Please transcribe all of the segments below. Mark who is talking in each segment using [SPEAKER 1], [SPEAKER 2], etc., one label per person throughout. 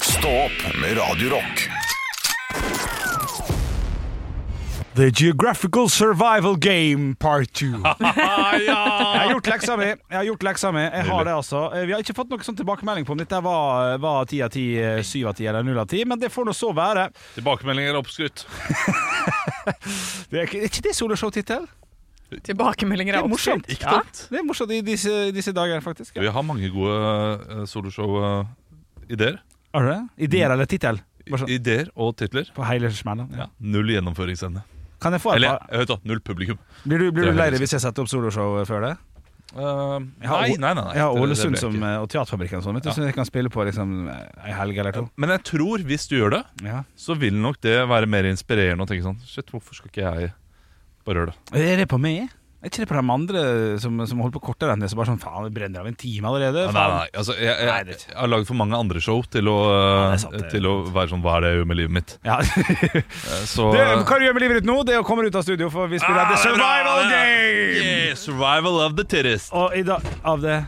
[SPEAKER 1] Stå opp med Radio Rock.
[SPEAKER 2] The Geographical Survival Game Part 2. Jeg har gjort leksa mi. Jeg har gjort leksa mi Jeg har det altså Eh, Vi har ikke fått noen sånn tilbakemelding på om dette var, var 10 av 10, eh, 7 av 10 eller 0 av 10, men det får nå så være.
[SPEAKER 3] Tilbakemeldinger er oppskrytt.
[SPEAKER 2] Det er ikke, er ikke det soloshow-tittel?
[SPEAKER 4] Tilbakemeldinger
[SPEAKER 2] Det
[SPEAKER 4] er
[SPEAKER 2] er morsomt.
[SPEAKER 4] oppskrytt.
[SPEAKER 2] Ja, det er morsomt i disse, disse dager, faktisk. Ja.
[SPEAKER 3] Vi har mange gode eh, soloshow-ideer.
[SPEAKER 2] Har du det? Ideer eller tittel? Bare sånn,
[SPEAKER 3] Ideer og titler.
[SPEAKER 2] På hele smellen.
[SPEAKER 3] Mm.
[SPEAKER 2] Ja.
[SPEAKER 3] Ja, null gjennomføringsevne.
[SPEAKER 2] Kan jeg få et
[SPEAKER 3] Eller
[SPEAKER 2] par?
[SPEAKER 3] høyt da, null publikum.
[SPEAKER 2] Blir du, blir
[SPEAKER 3] Det er
[SPEAKER 2] du lei
[SPEAKER 3] helt
[SPEAKER 2] deg hvis jeg setter opp soloshow før det?
[SPEAKER 3] nei,
[SPEAKER 2] Jeg har
[SPEAKER 3] nei,
[SPEAKER 2] O-
[SPEAKER 3] nei, nei.
[SPEAKER 2] Jeg har
[SPEAKER 3] det- det
[SPEAKER 2] Ålesund
[SPEAKER 3] blir jeg
[SPEAKER 2] som,
[SPEAKER 3] ikke.
[SPEAKER 2] eh, og Teaterfabrikken og sånn, vet du,
[SPEAKER 3] Ja.
[SPEAKER 2] så jeg kan spille på liksom ei helg eller to.
[SPEAKER 3] Men jeg tror hvis du gjør det,
[SPEAKER 2] Ja.
[SPEAKER 3] så vil nok det være mer inspirerende å tenke sånn Shit, hvorfor skal ikke jeg bare gjøre det?
[SPEAKER 2] Er det på meg? Er ikke det på de andre som, som holder på kortere enn det, som bare sånn faen, det brenner av en time allerede?
[SPEAKER 3] Nei, nei,
[SPEAKER 2] faen.
[SPEAKER 3] nei. Altså, jeg, jeg,
[SPEAKER 2] Nei, det er ikke-
[SPEAKER 3] jeg har lagd for mange andre show til å, eh,
[SPEAKER 2] det er sant, det er
[SPEAKER 3] til å være sånn Hva er det jeg gjør med livet mitt?
[SPEAKER 2] Ja.
[SPEAKER 3] Eh, Så
[SPEAKER 2] det, hva du gjør med livet ditt nå, det er å komme ut av studio, for vi spiller
[SPEAKER 3] Ah, det
[SPEAKER 2] The
[SPEAKER 3] er bra,
[SPEAKER 2] Survival
[SPEAKER 3] det er
[SPEAKER 2] Game!
[SPEAKER 3] Yeah, survival of the tittest.
[SPEAKER 2] Og i dag av det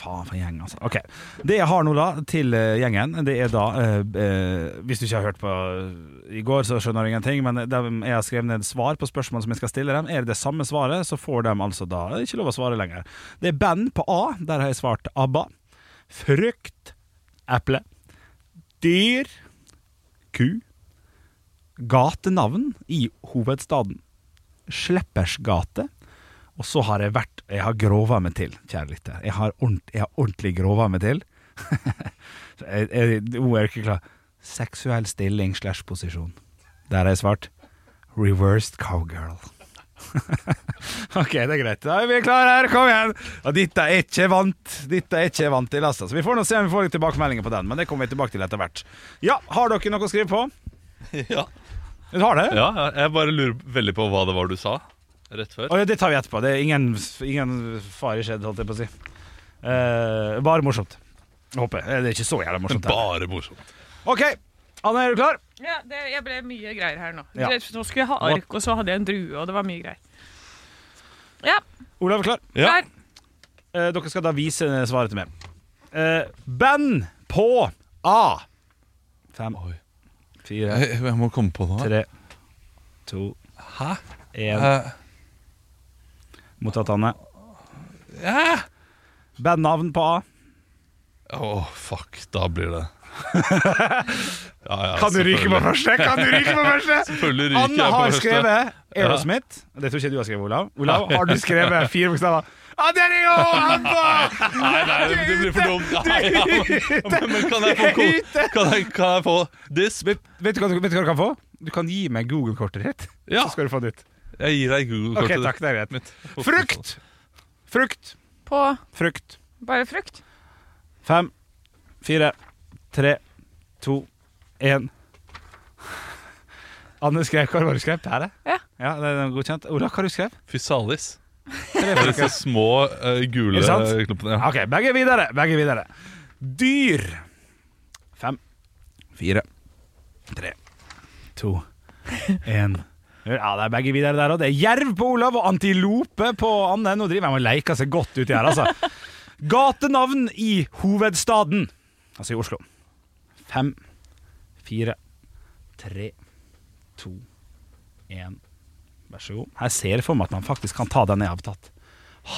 [SPEAKER 2] Faen for en gjeng, altså. Ok, Det jeg har nå da til eh, gjengen, det er da eh, eh, Hvis du ikke har hørt på eh, i går, så skjønner du ingenting, men de, jeg har skrevet ned svar på spørsmål som jeg skal stille dem. Er det det samme svaret, så får de altså da ikke lov å svare lenger. Det er band på A. Der har jeg svart ABBA. Frukt. Eple. Dyr. Ku. Gatenavn i hovedstaden. Sleppersgate. Og så har jeg vært Jeg har grova meg til, kjære lytter. Jeg har, ordent, jeg har ordentlig grova meg til. Så jeg, jeg, nå er jeg ikke klar. Seksuell stilling slash posisjon. Der har jeg svart reversed cowgirl. ok, det er greit. Da er vi klare her, kom igjen! Og dette er ikke jeg vant Dette er ikke jeg vant til, altså. Så vi får nå se om vi får litt tilbakemeldinger på den, men det kommer vi tilbake til etter hvert. Ja, har dere noe å skrive på?
[SPEAKER 3] Ja.
[SPEAKER 2] Du har det?
[SPEAKER 3] ja, jeg bare lurer veldig på hva det var du sa rett før.
[SPEAKER 2] Å ja, det tar vi etterpå. Det er ingen, ingen fare skjedd, holdt jeg på å si. Eh, bare morsomt. Håper jeg. Det er ikke så jævla morsomt. her.
[SPEAKER 3] Bare morsomt.
[SPEAKER 2] OK, Anne, er du klar?
[SPEAKER 4] Ja, det, jeg ble mye greier her nå.
[SPEAKER 2] Ja.
[SPEAKER 4] Det- Nå skulle jeg ha ark, og så hadde jeg en drue, og det var mye greier. Ja,
[SPEAKER 2] Olav er klar.
[SPEAKER 3] Ja.
[SPEAKER 4] klar.
[SPEAKER 2] Eh, dere skal da vise svaret til meg. Eh, band på A. Fem,
[SPEAKER 3] Oi.
[SPEAKER 2] fire,
[SPEAKER 3] Jeg, jeg må komme på noe.
[SPEAKER 2] tre, to,
[SPEAKER 3] Hæ?
[SPEAKER 2] én.
[SPEAKER 3] Eh,
[SPEAKER 2] Mottatt, Anne.
[SPEAKER 3] ja.
[SPEAKER 2] Bandnavn på A.
[SPEAKER 3] Åh, fuck, da blir det ja, ja,
[SPEAKER 2] Kan du ryke
[SPEAKER 3] selvfølgelig.
[SPEAKER 2] på første? Kan du ryke på første?
[SPEAKER 3] Selvfølgelig ryker jeg
[SPEAKER 2] Anne
[SPEAKER 3] på
[SPEAKER 2] har
[SPEAKER 3] første.
[SPEAKER 2] skrevet Aerosmith. Det tror ikke du har skrevet, Olav. Olav, har du skrevet fire bokstaver? Ja, det er det jo! Abba!
[SPEAKER 3] Nei, nei, det, det blir for dumt. Nei, ja, men, men kan jeg få, ko- kan jeg, kan jeg få this?
[SPEAKER 2] Vet du, hva, vet du hva du kan få? Du kan gi meg Google-kortet ditt,
[SPEAKER 3] Ja,
[SPEAKER 2] så skal du få nytt.
[SPEAKER 3] jeg gir deg
[SPEAKER 2] Ok,
[SPEAKER 3] Google-kortet.
[SPEAKER 2] takk, det er greit.
[SPEAKER 3] mitt.
[SPEAKER 2] Frukt! Frukt,
[SPEAKER 4] På
[SPEAKER 2] frukt.
[SPEAKER 4] bare frukt.
[SPEAKER 2] Fem, fire, tre, to, én. Anne skrev hva var det du skrev? Pære?
[SPEAKER 4] Ja.
[SPEAKER 2] ja det er godkjent. Olav, hva har du skrevet?
[SPEAKER 3] Fysalis.
[SPEAKER 2] Tre
[SPEAKER 3] Det er
[SPEAKER 2] frukt.
[SPEAKER 3] disse små eh,
[SPEAKER 2] Er
[SPEAKER 3] gule
[SPEAKER 2] det sant?
[SPEAKER 3] klumpene. Ja.
[SPEAKER 2] Ok, begge videre, begge videre. Dyr. Fem, fire, tre, to, én. Ja, det er begge videre der òg. Det er jerv på Olav og antilope på Anne. Nå driver jeg med å leike seg godt uti her, altså. Gatenavn i hovedstaden, altså i Oslo. Fem, fire, tre, to, én. Vær så god. Her ser jeg for meg at man faktisk kan ta den jeg har tatt.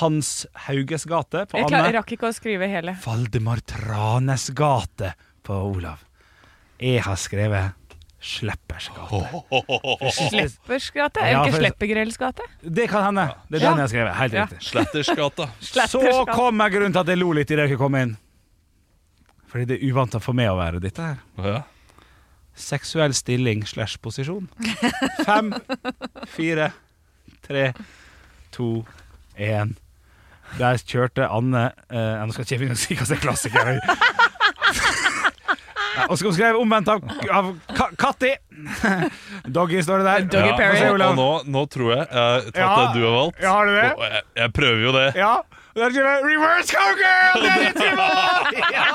[SPEAKER 2] Hans Hauges gate på
[SPEAKER 4] Jeg,
[SPEAKER 2] Anne.
[SPEAKER 4] klar, jeg rakk ikke å skrive hele.
[SPEAKER 2] Valdemar Tranes gate på Olav. Jeg har skrevet Sleppers gate.
[SPEAKER 4] Sleppersgate?
[SPEAKER 2] Ja,
[SPEAKER 4] Er det
[SPEAKER 2] for-
[SPEAKER 4] ikke Sleppegrells gate?
[SPEAKER 2] Det kan hende. Det er
[SPEAKER 4] Ja.
[SPEAKER 2] den jeg har skrevet. Helt
[SPEAKER 4] Ja.
[SPEAKER 2] riktig.
[SPEAKER 3] Slettersgata.
[SPEAKER 2] Så kom jeg grunnen til at jeg lo litt idet dere kom inn. Fordi det er uvant for meg å være dette her.
[SPEAKER 3] Ja.
[SPEAKER 2] Seksuell stilling slash posisjon. Fem, fire, tre, to, én. Der kjørte Anne eh, Nå skal jeg ikke begynne å si hva som er klassiker. Nei, Og så skrev omvendt av, av ka Katti. Doggy, står det der.
[SPEAKER 4] Doggy
[SPEAKER 2] Ja. Få
[SPEAKER 4] Perry.
[SPEAKER 2] se,
[SPEAKER 3] og, og
[SPEAKER 2] Olav.
[SPEAKER 3] nå, nå tror jeg jeg har tatt
[SPEAKER 2] Ja.
[SPEAKER 3] det du har valgt.
[SPEAKER 2] Ja, har du det?
[SPEAKER 3] Og jeg, jeg prøver jo det.
[SPEAKER 2] Ja. Og Der skrev jeg 'Reverse cowgirl'! Det er litt humor! Ja.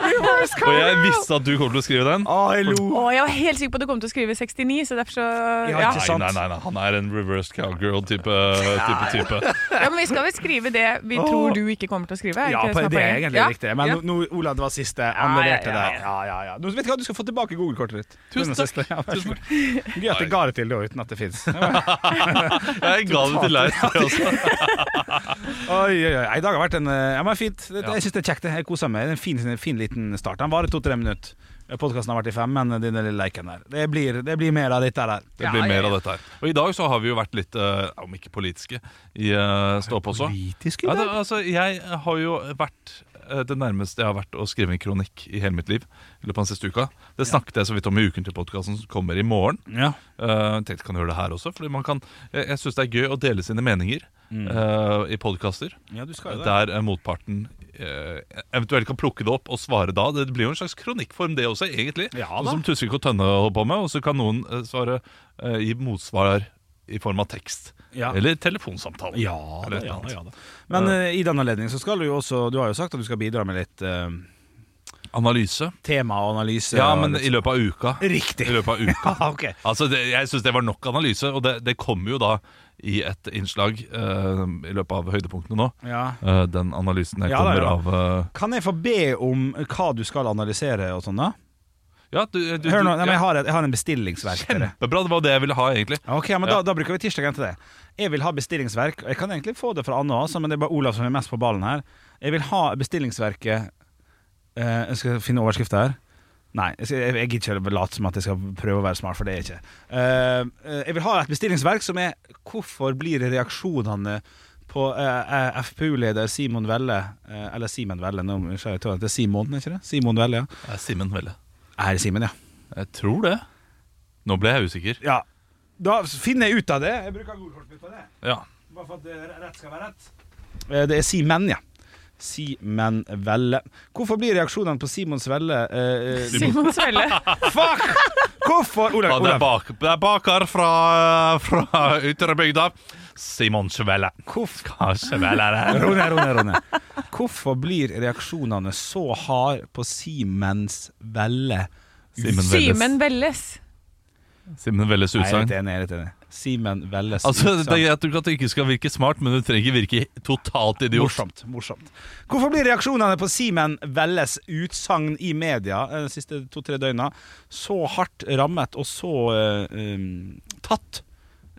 [SPEAKER 2] Reverse
[SPEAKER 3] Og
[SPEAKER 2] cowgirl!
[SPEAKER 3] jeg visste at du kom til å skrive den.
[SPEAKER 4] Ah,
[SPEAKER 2] Å, jeg lo.
[SPEAKER 4] Å, jeg var helt sikker på at du kom til å skrive 69, så derfor så
[SPEAKER 2] Ja,
[SPEAKER 4] ja.
[SPEAKER 2] ikke
[SPEAKER 3] Nei,
[SPEAKER 2] sant.
[SPEAKER 3] nei, nei, nei, han er en reversed cowgirl-type. type, type.
[SPEAKER 4] ja, Men vi skal vel skrive det vi
[SPEAKER 2] Åh.
[SPEAKER 4] tror du ikke kommer til å skrive? er
[SPEAKER 2] Ja,
[SPEAKER 4] ikke
[SPEAKER 2] på-
[SPEAKER 4] som
[SPEAKER 2] det er
[SPEAKER 4] poenget?
[SPEAKER 2] egentlig
[SPEAKER 4] Ja,
[SPEAKER 2] riktig. Men nå,
[SPEAKER 4] ja.
[SPEAKER 2] nå- Olav, det var siste. Han
[SPEAKER 4] Ja, ja,
[SPEAKER 2] leverte
[SPEAKER 4] ja,
[SPEAKER 2] det. Ja, ja, ja. Nå vet du hva, du skal få tilbake Google-kortet ditt.
[SPEAKER 3] Tusen
[SPEAKER 2] Den er
[SPEAKER 3] takk.
[SPEAKER 2] siste. Ja, vær så
[SPEAKER 3] Tusen
[SPEAKER 2] god. Gøy at jeg ga det til deg uten at det fins.
[SPEAKER 3] Jeg ga det til deg. Altså, jeg også.
[SPEAKER 2] Oi, oi, oi. I dag har vært en eh, Ja, men fint. Det,
[SPEAKER 3] Ja.
[SPEAKER 2] Jeg syns det er kjekt. det. Jeg koser meg. Det er En fin, fin liten start. Den varer to-tre minutter. Podkasten har vært i fem, men eh, den lille leiken der Det blir, det blir mer av dette der.
[SPEAKER 3] Det blir mer av dette her. Og i dag så har vi jo vært litt, eh, om ikke politiske, i eh, Stå på også.
[SPEAKER 2] Politisk
[SPEAKER 3] Ja, det, altså, jeg har jo vært eh, det nærmeste jeg har vært å skrive en kronikk i hele mitt liv. I løpet av den siste uka Det snakket jeg så vidt om i uken til podkasten som kommer i morgen.
[SPEAKER 2] Ja.
[SPEAKER 3] Eh, jeg tenkte jeg kan gjøre det her også Fordi man kan Jeg, jeg syns det er gøy å dele sine meninger eh, i podkaster.
[SPEAKER 2] Mm. ja, du skal jo det.
[SPEAKER 3] Der eh, motparten eh, eventuelt kan plukke det opp og svare da. Det blir jo en slags kronikkform, det også, egentlig.
[SPEAKER 2] Ja,
[SPEAKER 3] Sånn
[SPEAKER 2] da.
[SPEAKER 3] som Tusvik og Tønne holder på med. Og så kan noen eh, svare eh, gi motsvar i form av tekst.
[SPEAKER 2] Ja.
[SPEAKER 3] Eller telefonsamtale.
[SPEAKER 2] Ja da,
[SPEAKER 3] Eller et eller
[SPEAKER 2] ja, da,
[SPEAKER 3] annet.
[SPEAKER 2] ja da. Men eh, i den anledning så skal du jo også Du har jo sagt at du skal bidra med litt eh,
[SPEAKER 3] Analyse.
[SPEAKER 2] tema og analyse.
[SPEAKER 3] Ja,
[SPEAKER 2] og
[SPEAKER 3] men
[SPEAKER 2] litt-
[SPEAKER 3] i løpet av uka.
[SPEAKER 2] Riktig.
[SPEAKER 3] I løpet av uka.
[SPEAKER 2] Ah, ok.
[SPEAKER 3] Altså, det, Jeg syns det var nok analyse, og det, det kommer jo da i et innslag eh, i løpet av høydepunktene nå.
[SPEAKER 2] Ja.
[SPEAKER 3] Eh, den analysen jeg
[SPEAKER 2] Ja, da,
[SPEAKER 3] kommer
[SPEAKER 2] ja.
[SPEAKER 3] av eh,
[SPEAKER 2] Kan jeg få be om hva du skal analysere og sånn, da?
[SPEAKER 3] Ja, du, du,
[SPEAKER 2] Hør nå,
[SPEAKER 3] du-
[SPEAKER 2] nei, men
[SPEAKER 3] ja.
[SPEAKER 2] jeg har, et, jeg har en bestillingsverk. til deg.
[SPEAKER 3] Kjempebra, det var det jeg ville ha, egentlig.
[SPEAKER 2] Ja, Ok, men
[SPEAKER 3] Ja.
[SPEAKER 2] da, da bruker vi tirsdagen til det. Jeg vil ha bestillingsverk. og Jeg kan egentlig få det fra Anne også, men det er bare Olav som er mest på ballen her. Jeg vil ha bestillingsverket eh, Jeg skal finne overskriften her. Nei, jeg, skal- jeg, jeg gidder ikke å late som at jeg skal prøve å være smart, for det er jeg ikke. Eh, eh, jeg vil ha et bestillingsverk som er Hvorfor blir reaksjonene på eh, eh, FPU-leder Simon Velle eh, Eller Simen Velle, nå må jeg skjønne, jeg tror det er Simon, er ikke det? Simon Velle, ja.
[SPEAKER 3] Det er Simen Velle.
[SPEAKER 2] Er det Simen, ja.
[SPEAKER 3] Jeg tror det. Nå ble jeg usikker.
[SPEAKER 2] Ja. Da finner jeg ut av det. Jeg bruker godkortet mitt på det.
[SPEAKER 3] Ja.
[SPEAKER 2] Bare for at eh, rett skal være rett. Eh, Det er Simen, ja. Simen Velle. Hvorfor blir reaksjonene på Simons Velle eh, eh,
[SPEAKER 4] Simon Svelle.
[SPEAKER 2] Fuck! Hvorfor
[SPEAKER 3] Ja,
[SPEAKER 2] Olav,
[SPEAKER 3] det, er
[SPEAKER 2] Olav.
[SPEAKER 3] bak, det er baker fra, fra ytre bygda. Simon Svelle.
[SPEAKER 2] Hvorfor,
[SPEAKER 3] Kanskje vel er det
[SPEAKER 2] Rone, Rone, Rone. Hvorfor blir reaksjonene så hard på Simens Velle?
[SPEAKER 3] Simen
[SPEAKER 4] Simen
[SPEAKER 3] Velles-
[SPEAKER 4] Velles.
[SPEAKER 3] Simen Velles
[SPEAKER 2] Nei, jeg er
[SPEAKER 3] utsagn.
[SPEAKER 2] litt enig. Jeg er litt enig. Simen Velles
[SPEAKER 3] Altså, det er
[SPEAKER 2] utsagn.
[SPEAKER 3] greit at du ikke skal virke smart, men du trenger ikke virke totalt idiot.
[SPEAKER 2] Morsomt. morsomt Hvorfor blir reaksjonene på Simen Velles utsagn i media eh, de siste to-tre døgna så hardt rammet og så eh, um, tatt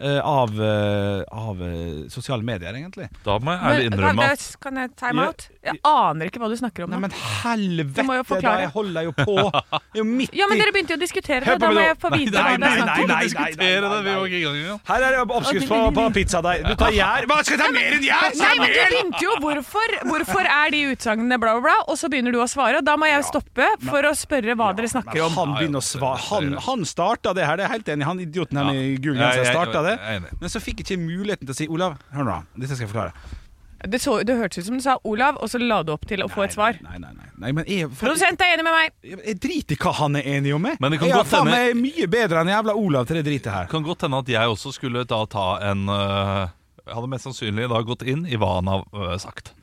[SPEAKER 2] eh, av, eh, av eh, sosiale medier, egentlig?
[SPEAKER 3] Da må jeg ærlig
[SPEAKER 4] Men-
[SPEAKER 3] innrømme
[SPEAKER 4] Nei,
[SPEAKER 3] at
[SPEAKER 4] det- Kan jeg time out? Jeg aner ikke hva du snakker om
[SPEAKER 2] Nei,
[SPEAKER 4] nå.
[SPEAKER 2] men
[SPEAKER 4] Du må jo
[SPEAKER 2] helvete, da!
[SPEAKER 4] forklare.
[SPEAKER 2] Jeg holder jo på! Jeg er jo midt i
[SPEAKER 4] Ja, men dere begynte jo å diskutere
[SPEAKER 2] Hør på
[SPEAKER 4] det. Da må
[SPEAKER 2] meg nå.
[SPEAKER 4] jeg få vite
[SPEAKER 2] Nei,
[SPEAKER 4] hva det
[SPEAKER 2] nei,
[SPEAKER 4] er
[SPEAKER 2] nei,
[SPEAKER 4] snakk om.
[SPEAKER 2] nei,
[SPEAKER 3] diskutere det,
[SPEAKER 2] nei,
[SPEAKER 3] vi
[SPEAKER 2] nei.
[SPEAKER 3] var ikke i gang engang.
[SPEAKER 2] Her er det oppskrift på, på pizzadeig. Du tar gjær. Hva skal jeg ta mer enn gjær?!
[SPEAKER 4] Nei, men du begynte jo hvorfor, hvorfor er de utsagnene bla, bla, bla, og så begynner du å svare. og Da må jeg stoppe for å spørre hva dere snakker om.
[SPEAKER 2] Han begynner å svare Han, han starta det her, det er jeg helt enig i. Han idioten her med gul
[SPEAKER 3] Jeg-
[SPEAKER 2] genser
[SPEAKER 3] jeg-
[SPEAKER 2] starta det.
[SPEAKER 3] jeg er enig.
[SPEAKER 2] Men så fikk jeg ikke muligheten til å si Olav, hør nå, dette skal jeg forklare.
[SPEAKER 4] Det, så, det hørtes ut som du sa Olav, og så la du opp til å få et svar.
[SPEAKER 2] Nei, nei, nei. nei men jeg, for, jeg,
[SPEAKER 4] Produsent er enig med meg.
[SPEAKER 2] jeg driter i hva han er enig om. Jeg,
[SPEAKER 3] Men det kan
[SPEAKER 2] jeg,
[SPEAKER 3] godt
[SPEAKER 2] faen,
[SPEAKER 3] hende-
[SPEAKER 2] jeg er mye bedre enn jævla Olav til det dritet her.
[SPEAKER 3] Kan godt hende at jeg også skulle da ta en øh, Jeg hadde mest sannsynlig da gått inn i hva han har øh, sagt.